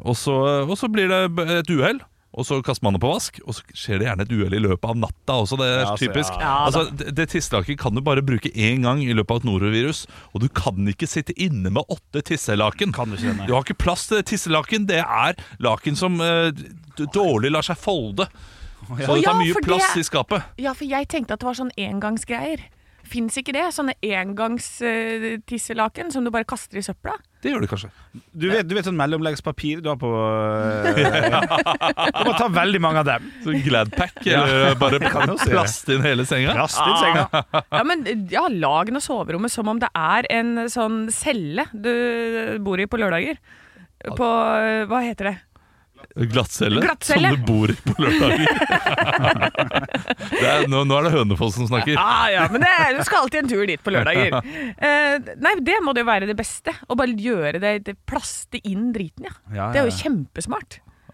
[SPEAKER 3] Og så, og så blir det b- et uhell, og så kaster man det på vask. Og så skjer det gjerne et uhell i løpet av natta også. Det er
[SPEAKER 2] Ja, altså,
[SPEAKER 3] typisk.
[SPEAKER 2] ja.
[SPEAKER 3] altså, det det tisselaken kan du bare bruke én gang i løpet av et norovirus. Og du kan ikke sitte inne med åtte tisselaken.
[SPEAKER 2] Kan du ikke det, nei.
[SPEAKER 3] Du har ikke plass til tisselaken. Det er laken som eh, d- dårlig lar seg folde. Så
[SPEAKER 4] Å
[SPEAKER 3] det
[SPEAKER 4] ja,
[SPEAKER 3] tar mye
[SPEAKER 4] for det-
[SPEAKER 3] plass i skapet.
[SPEAKER 4] Ja, for jeg tenkte at det var sånn engangsgreier. Fins ikke det? Sånne engangstisselaken som du bare kaster i søpla?
[SPEAKER 3] Det gjør det kanskje.
[SPEAKER 2] Du vet, du vet sånn mellomleggspapir du har på Du må ta veldig mange av dem.
[SPEAKER 3] Så Gladpack, eller bare
[SPEAKER 2] kan jeg også gjøre.
[SPEAKER 3] plast inn hele senga.
[SPEAKER 2] Rast inn senga.
[SPEAKER 4] Ja, men ja, lag eh, den og soverommet som om det er en sånn celle du bor i på lørdager. på eh, Hva heter det?
[SPEAKER 3] Glattcelle,
[SPEAKER 4] Glattcelle.
[SPEAKER 3] som du bor i på lørdager. det er, nå, nå er det Hønefoss som snakker.
[SPEAKER 4] Ah, ja, men det, du skal alltid en tur dit på lørdager. Eh, nei, det må det jo være det beste. Å bare gjøre det, det plaste inn driten, ja.
[SPEAKER 2] Ja,
[SPEAKER 4] Det er
[SPEAKER 2] ja,
[SPEAKER 4] jo kjempesmart.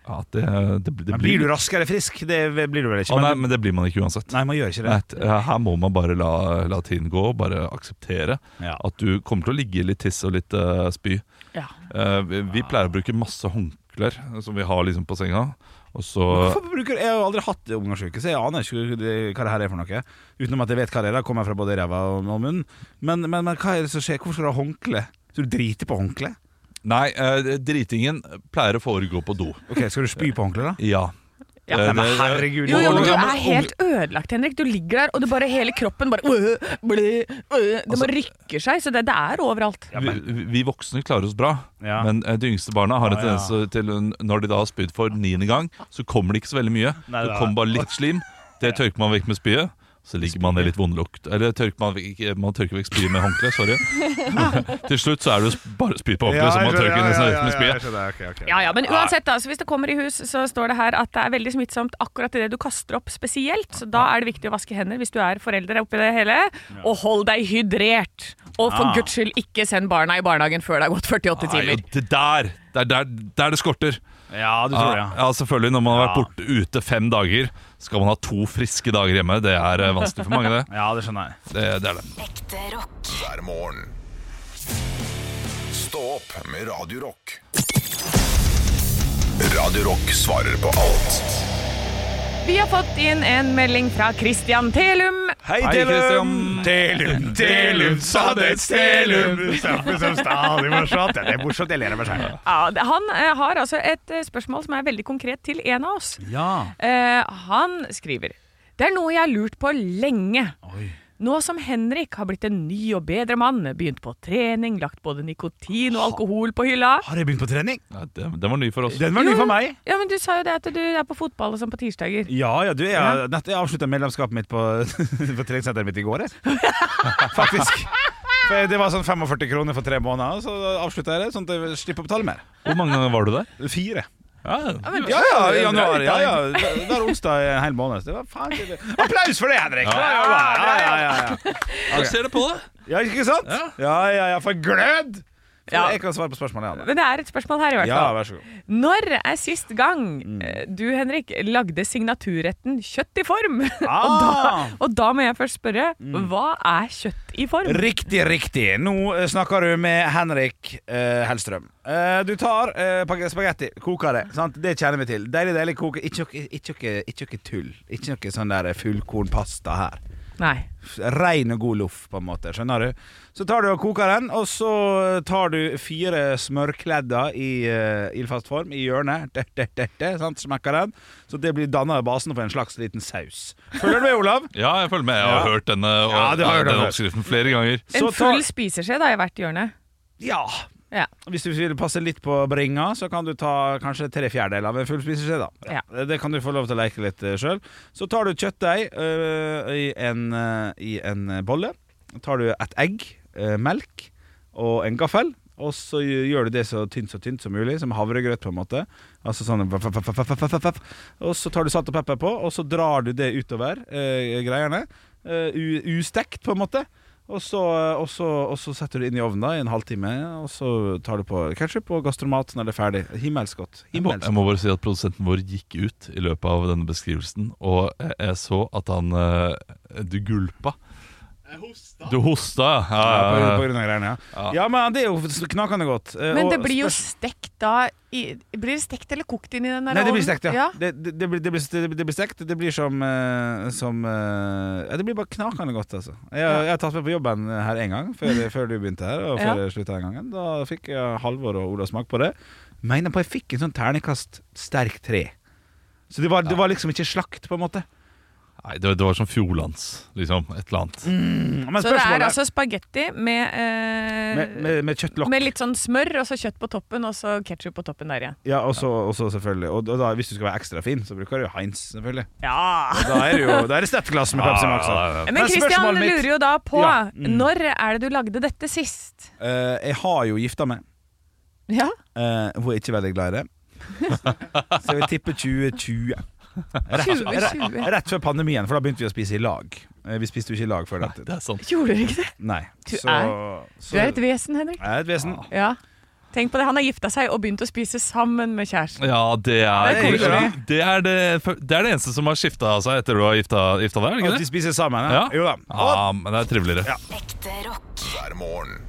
[SPEAKER 3] Ja, det, det, det
[SPEAKER 2] Men blir
[SPEAKER 3] blir
[SPEAKER 2] du raskere frisk? Det blir du vel ikke?
[SPEAKER 3] Å, nei,
[SPEAKER 2] men-
[SPEAKER 3] men det blir man ikke uansett.
[SPEAKER 2] nei, man gjør ikke
[SPEAKER 3] Nei,
[SPEAKER 2] det.
[SPEAKER 3] t- her må man bare la, la tiden gå, bare akseptere
[SPEAKER 2] Ja.
[SPEAKER 3] at du kommer til å ligge i litt tiss og litt eh, spy.
[SPEAKER 4] Ja.
[SPEAKER 3] Eh, vi, vi pleier å bruke masse håndklær eh, som vi har liksom på senga. Og så
[SPEAKER 2] Hvorfor bruker, jeg har jo aldri hatt omgangsuke, så jeg aner ikke det- hva det her er for noe. Utenom at jeg vet hva det er, da kommer jeg fra både ræva og og munnen. Men, men, men hva er det som skjer? Hvorfor skal du ha håndkle? Så du driter på håndkle?
[SPEAKER 3] Nei, eh, dritingen pleier å foregå på do.
[SPEAKER 2] Ok, Skal du spy på håndkle, da?
[SPEAKER 3] Ja.
[SPEAKER 4] Ja.
[SPEAKER 3] Eh,
[SPEAKER 2] Nei, men
[SPEAKER 3] det-
[SPEAKER 2] herregud.
[SPEAKER 4] Jo, jo, men du
[SPEAKER 2] Ja,
[SPEAKER 4] er
[SPEAKER 2] men-
[SPEAKER 4] helt ødelagt, Henrik. Du ligger der, og det bare hele kroppen bare øh, blæ, øh. Det bare rykker seg, så det, det er overalt.
[SPEAKER 3] vi, vi voksne klarer oss bra,
[SPEAKER 2] Ja.
[SPEAKER 3] men eh, de yngste barna har en
[SPEAKER 2] Ah, ja.
[SPEAKER 3] tendens til Når de da har spydd for niende gang, så kommer det ikke så veldig mye.
[SPEAKER 2] Nei,
[SPEAKER 3] det
[SPEAKER 2] nei.
[SPEAKER 3] kommer bare litt slim. Det tørker man vekk med spyet. Så ligger man i litt vond lukt. Eller tørker man, vekk, ikke- man tørker vekk spyet med håndkle. Sorry. Til slutt så er det jo sp- bare spy på håndkle,
[SPEAKER 2] Ja,
[SPEAKER 3] så man
[SPEAKER 2] jeg skjønner,
[SPEAKER 3] tørker nesten
[SPEAKER 2] ja,
[SPEAKER 3] vekk med
[SPEAKER 2] ja, ja, jeg
[SPEAKER 3] spyet.
[SPEAKER 2] skjønner, ok, ok.
[SPEAKER 4] Ja, ja, men uansett da, så Hvis det kommer i hus, så står det her at det er veldig smittsomt akkurat idet du kaster opp spesielt. Så Da er det viktig å vaske hender hvis du er forelder oppi det hele. Og hold deg hydrert! Og for
[SPEAKER 2] Ah.
[SPEAKER 4] guds skyld, ikke send barna i barnehagen før det har gått 48
[SPEAKER 3] Nei,
[SPEAKER 4] timer.
[SPEAKER 3] og det der, det er der, der det skorter.
[SPEAKER 2] Ja, du tror
[SPEAKER 3] Ja,
[SPEAKER 2] det, ja.
[SPEAKER 3] ja, selvfølgelig. Når man har vært
[SPEAKER 2] Ja.
[SPEAKER 3] borte ute fem dager, skal man ha to friske dager hjemme. Det er eh, vanskelig for mange, det.
[SPEAKER 2] Ja, det skjønner jeg.
[SPEAKER 3] Det, det er det.
[SPEAKER 5] Ekte rock.
[SPEAKER 1] hver morgen. Stå opp med Radio Rock. Radio Rock svarer på alt
[SPEAKER 4] Vi har fått inn en melding fra Christian Telum.
[SPEAKER 3] Hei,
[SPEAKER 2] Telum! Telum, Telum, sannhets Telum! Stemmer som stadig morsomt. Ja, Det er morsomt, jeg ler av meg selv.
[SPEAKER 4] Ja, det- han eh, har altså et eh, spørsmål som er veldig konkret til en av oss.
[SPEAKER 2] Ja.
[SPEAKER 4] Eh, han skriver Det er noe jeg har lurt på lenge.
[SPEAKER 2] Oi.
[SPEAKER 4] Nå som Henrik har blitt en ny og bedre mann, begynt på trening, lagt både nikotin og alkohol på hylla
[SPEAKER 2] Har jeg begynt på trening?
[SPEAKER 3] Ja, den, den var ny for oss.
[SPEAKER 2] Den var ny for meg.
[SPEAKER 4] Ja, men Du sa jo det at du er på fotball og sånn på tirsdager.
[SPEAKER 2] Ja, ja, du, jeg, nett, jeg avslutta medlemskapet mitt på, på treningssenteret mitt i går, jeg. Faktisk. For det var sånn 45 kroner for tre måneder, og så avslutta jeg det, sånn at jeg slipper å betale mer.
[SPEAKER 3] Hvor mange ganger var du der?
[SPEAKER 2] Fire.
[SPEAKER 3] Ja,
[SPEAKER 2] Ja, ja, i januar. Ja, ja. Hver onsdag i en hel måned. Så Det var faen ikke det. Applaus for det, Henrik! Ja, ja, ja, ja, ja, ja.
[SPEAKER 3] ser det på deg.
[SPEAKER 2] ja ikke sant? Ja, ja, ja, for glød! For
[SPEAKER 4] Ja.
[SPEAKER 2] Jeg kan svare på spørsmålet. Ja,
[SPEAKER 4] Men det er et spørsmål her, i hvert
[SPEAKER 2] ja Mm.
[SPEAKER 4] fall.
[SPEAKER 2] vær så god.
[SPEAKER 4] Når er sist gang eh, du, Henrik, lagde signaturretten kjøtt i form? og, da,
[SPEAKER 2] Ah! Mm.
[SPEAKER 4] og da må jeg først spørre, hva er kjøtt i form?
[SPEAKER 2] Riktig, riktig. Nå eh, snakker du med Henrik eh, Hellstrøm. Eh, du tar eh, pak- spagetti, koker det. Sant? Det kjenner vi til. Deilig, deilig koke. Ikke noe- ikke noe- ikke noe tull. Ikke noe sånn der eh, fullkornpasta her.
[SPEAKER 4] Nei.
[SPEAKER 2] Rein og god loff, på en måte. Skjønner du? Så tar du og koker den, og så tar du fire smørkledder i eh, ildfast form i hjørnet. Det, det, det, det, sant? Smekker den. Så det blir danna basen for en slags liten saus. Følger du med, Olav?
[SPEAKER 3] Ja, jeg følger med. Jeg har
[SPEAKER 2] Ja.
[SPEAKER 3] hørt denne, og,
[SPEAKER 2] Ja, du har hørt
[SPEAKER 3] denne
[SPEAKER 2] den før.
[SPEAKER 3] oppskriften flere ganger.
[SPEAKER 4] En
[SPEAKER 2] Så tar-
[SPEAKER 4] full spiseskje da i hvert hjørne.
[SPEAKER 2] Ja.
[SPEAKER 4] Ja.
[SPEAKER 2] Hvis du vil passe litt på bringa, så kan du ta kanskje tre fjerdedeler av en full spiseskje. da. Eh,
[SPEAKER 4] Ja.
[SPEAKER 2] Det kan du få lov til å leke litt sjøl. Så tar du kjøttdeig øh, i, en, øh, i en bolle. Tar du et egg, øh, melk og en gaffel. Og så gjør du det så tynt så tynt som mulig, som havregrøt, på en måte. Altså sånn vaff, vaff, vaff, vaff, vaff, vaff, vaff. Og så tar du salt og pepper på, og så drar du det utover øh, greiene. øh, u, ustekt, på en måte. Og så, eh, og, så, og så setter du det inn i ovnen da, i en halvtime, og så tar du på ketsjup og gastromat når det er ferdig. Himmelsk godt.
[SPEAKER 3] Jeg må,
[SPEAKER 2] Himmelsk
[SPEAKER 3] jeg må bare si at Produsenten vår gikk ut i løpet av denne beskrivelsen, og jeg, jeg så at han eh, Du gulpa. Jeg hosta. Du hosta, ja.
[SPEAKER 2] Ja, på,
[SPEAKER 3] ja,
[SPEAKER 2] på
[SPEAKER 3] ja, ja.
[SPEAKER 2] grunn av greiene, ja. ja, men det er jo knakende godt. Eh,
[SPEAKER 4] Men
[SPEAKER 2] og
[SPEAKER 4] det blir jo
[SPEAKER 2] spørs-
[SPEAKER 4] stekt da i, Blir det stekt eller kokt inn i den der
[SPEAKER 2] Nei, det blir
[SPEAKER 4] ovnen?
[SPEAKER 2] stekt, ja. Det, det, det, blir, det, blir, det, blir, det blir stekt. Det blir som, eh, som eh, ja, Det blir bare knakende godt, altså. Jeg, jeg har tatt meg på jobben her én gang, før, før du begynte her. Og
[SPEAKER 4] Ja.
[SPEAKER 2] før jeg slutta den gangen. Da fikk jeg Halvor og Ola smak på det. Mener på jeg fikk en sånn ternekast sterk tre. Så det var, det var liksom ikke slakt, på en måte.
[SPEAKER 3] Nei, det, det var som Fjordlands, liksom. Et eller annet.
[SPEAKER 2] Mm. Men
[SPEAKER 4] Så det
[SPEAKER 2] spørsmålet
[SPEAKER 4] er
[SPEAKER 2] er-
[SPEAKER 4] altså spagetti med, eh,
[SPEAKER 2] med, med, med kjøttlokk.
[SPEAKER 4] med litt sånn smør, og så kjøtt på toppen, og så ketsjup på toppen der igjen.
[SPEAKER 2] Ja, og så og så selvfølgelig. Og, og da, hvis du skal være ekstra fin, så bruker du jo Heinz, selvfølgelig.
[SPEAKER 4] Ja!
[SPEAKER 2] Da er det jo da er det steppglass med Pepsi Max. da.
[SPEAKER 4] Men Christian
[SPEAKER 2] spørsmålet mitt-
[SPEAKER 4] lurer jo da på
[SPEAKER 2] Ja, mm.
[SPEAKER 4] når er det du lagde dette sist?
[SPEAKER 2] Eh, jeg har jo gifta meg.
[SPEAKER 4] Ja,
[SPEAKER 2] Eh, hun er ikke veldig glad i det. Så jeg vil tippe 2020. Rett,
[SPEAKER 4] 2020.
[SPEAKER 2] rett før pandemien, for da begynte vi å spise i lag. Eh, Vi spiste jo ikke i lag før dette.
[SPEAKER 3] Det er sant.
[SPEAKER 4] Gjorde dere ikke det?
[SPEAKER 2] Nei.
[SPEAKER 4] Du
[SPEAKER 2] Så, så
[SPEAKER 4] Du er et Ah, vesen, Henrik.
[SPEAKER 2] jeg er et vesen.
[SPEAKER 4] Ja. Tenk på det, Han har gifta seg og begynt å spise sammen med kjæresten.
[SPEAKER 3] Ja, det er
[SPEAKER 4] Det er koselig.
[SPEAKER 3] det, er det, det er det eneste som har skifta seg etter du har gifta, gifta deg, er det
[SPEAKER 2] At
[SPEAKER 3] ikke
[SPEAKER 2] vi
[SPEAKER 3] det?
[SPEAKER 2] spiser sammen. Ja.
[SPEAKER 3] Ja.
[SPEAKER 2] Jo da.
[SPEAKER 4] Ah.
[SPEAKER 3] Ja, men det er triveligere.
[SPEAKER 8] Ekte rock.
[SPEAKER 1] hver morgen.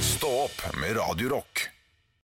[SPEAKER 1] Stå opp med Radio Rock.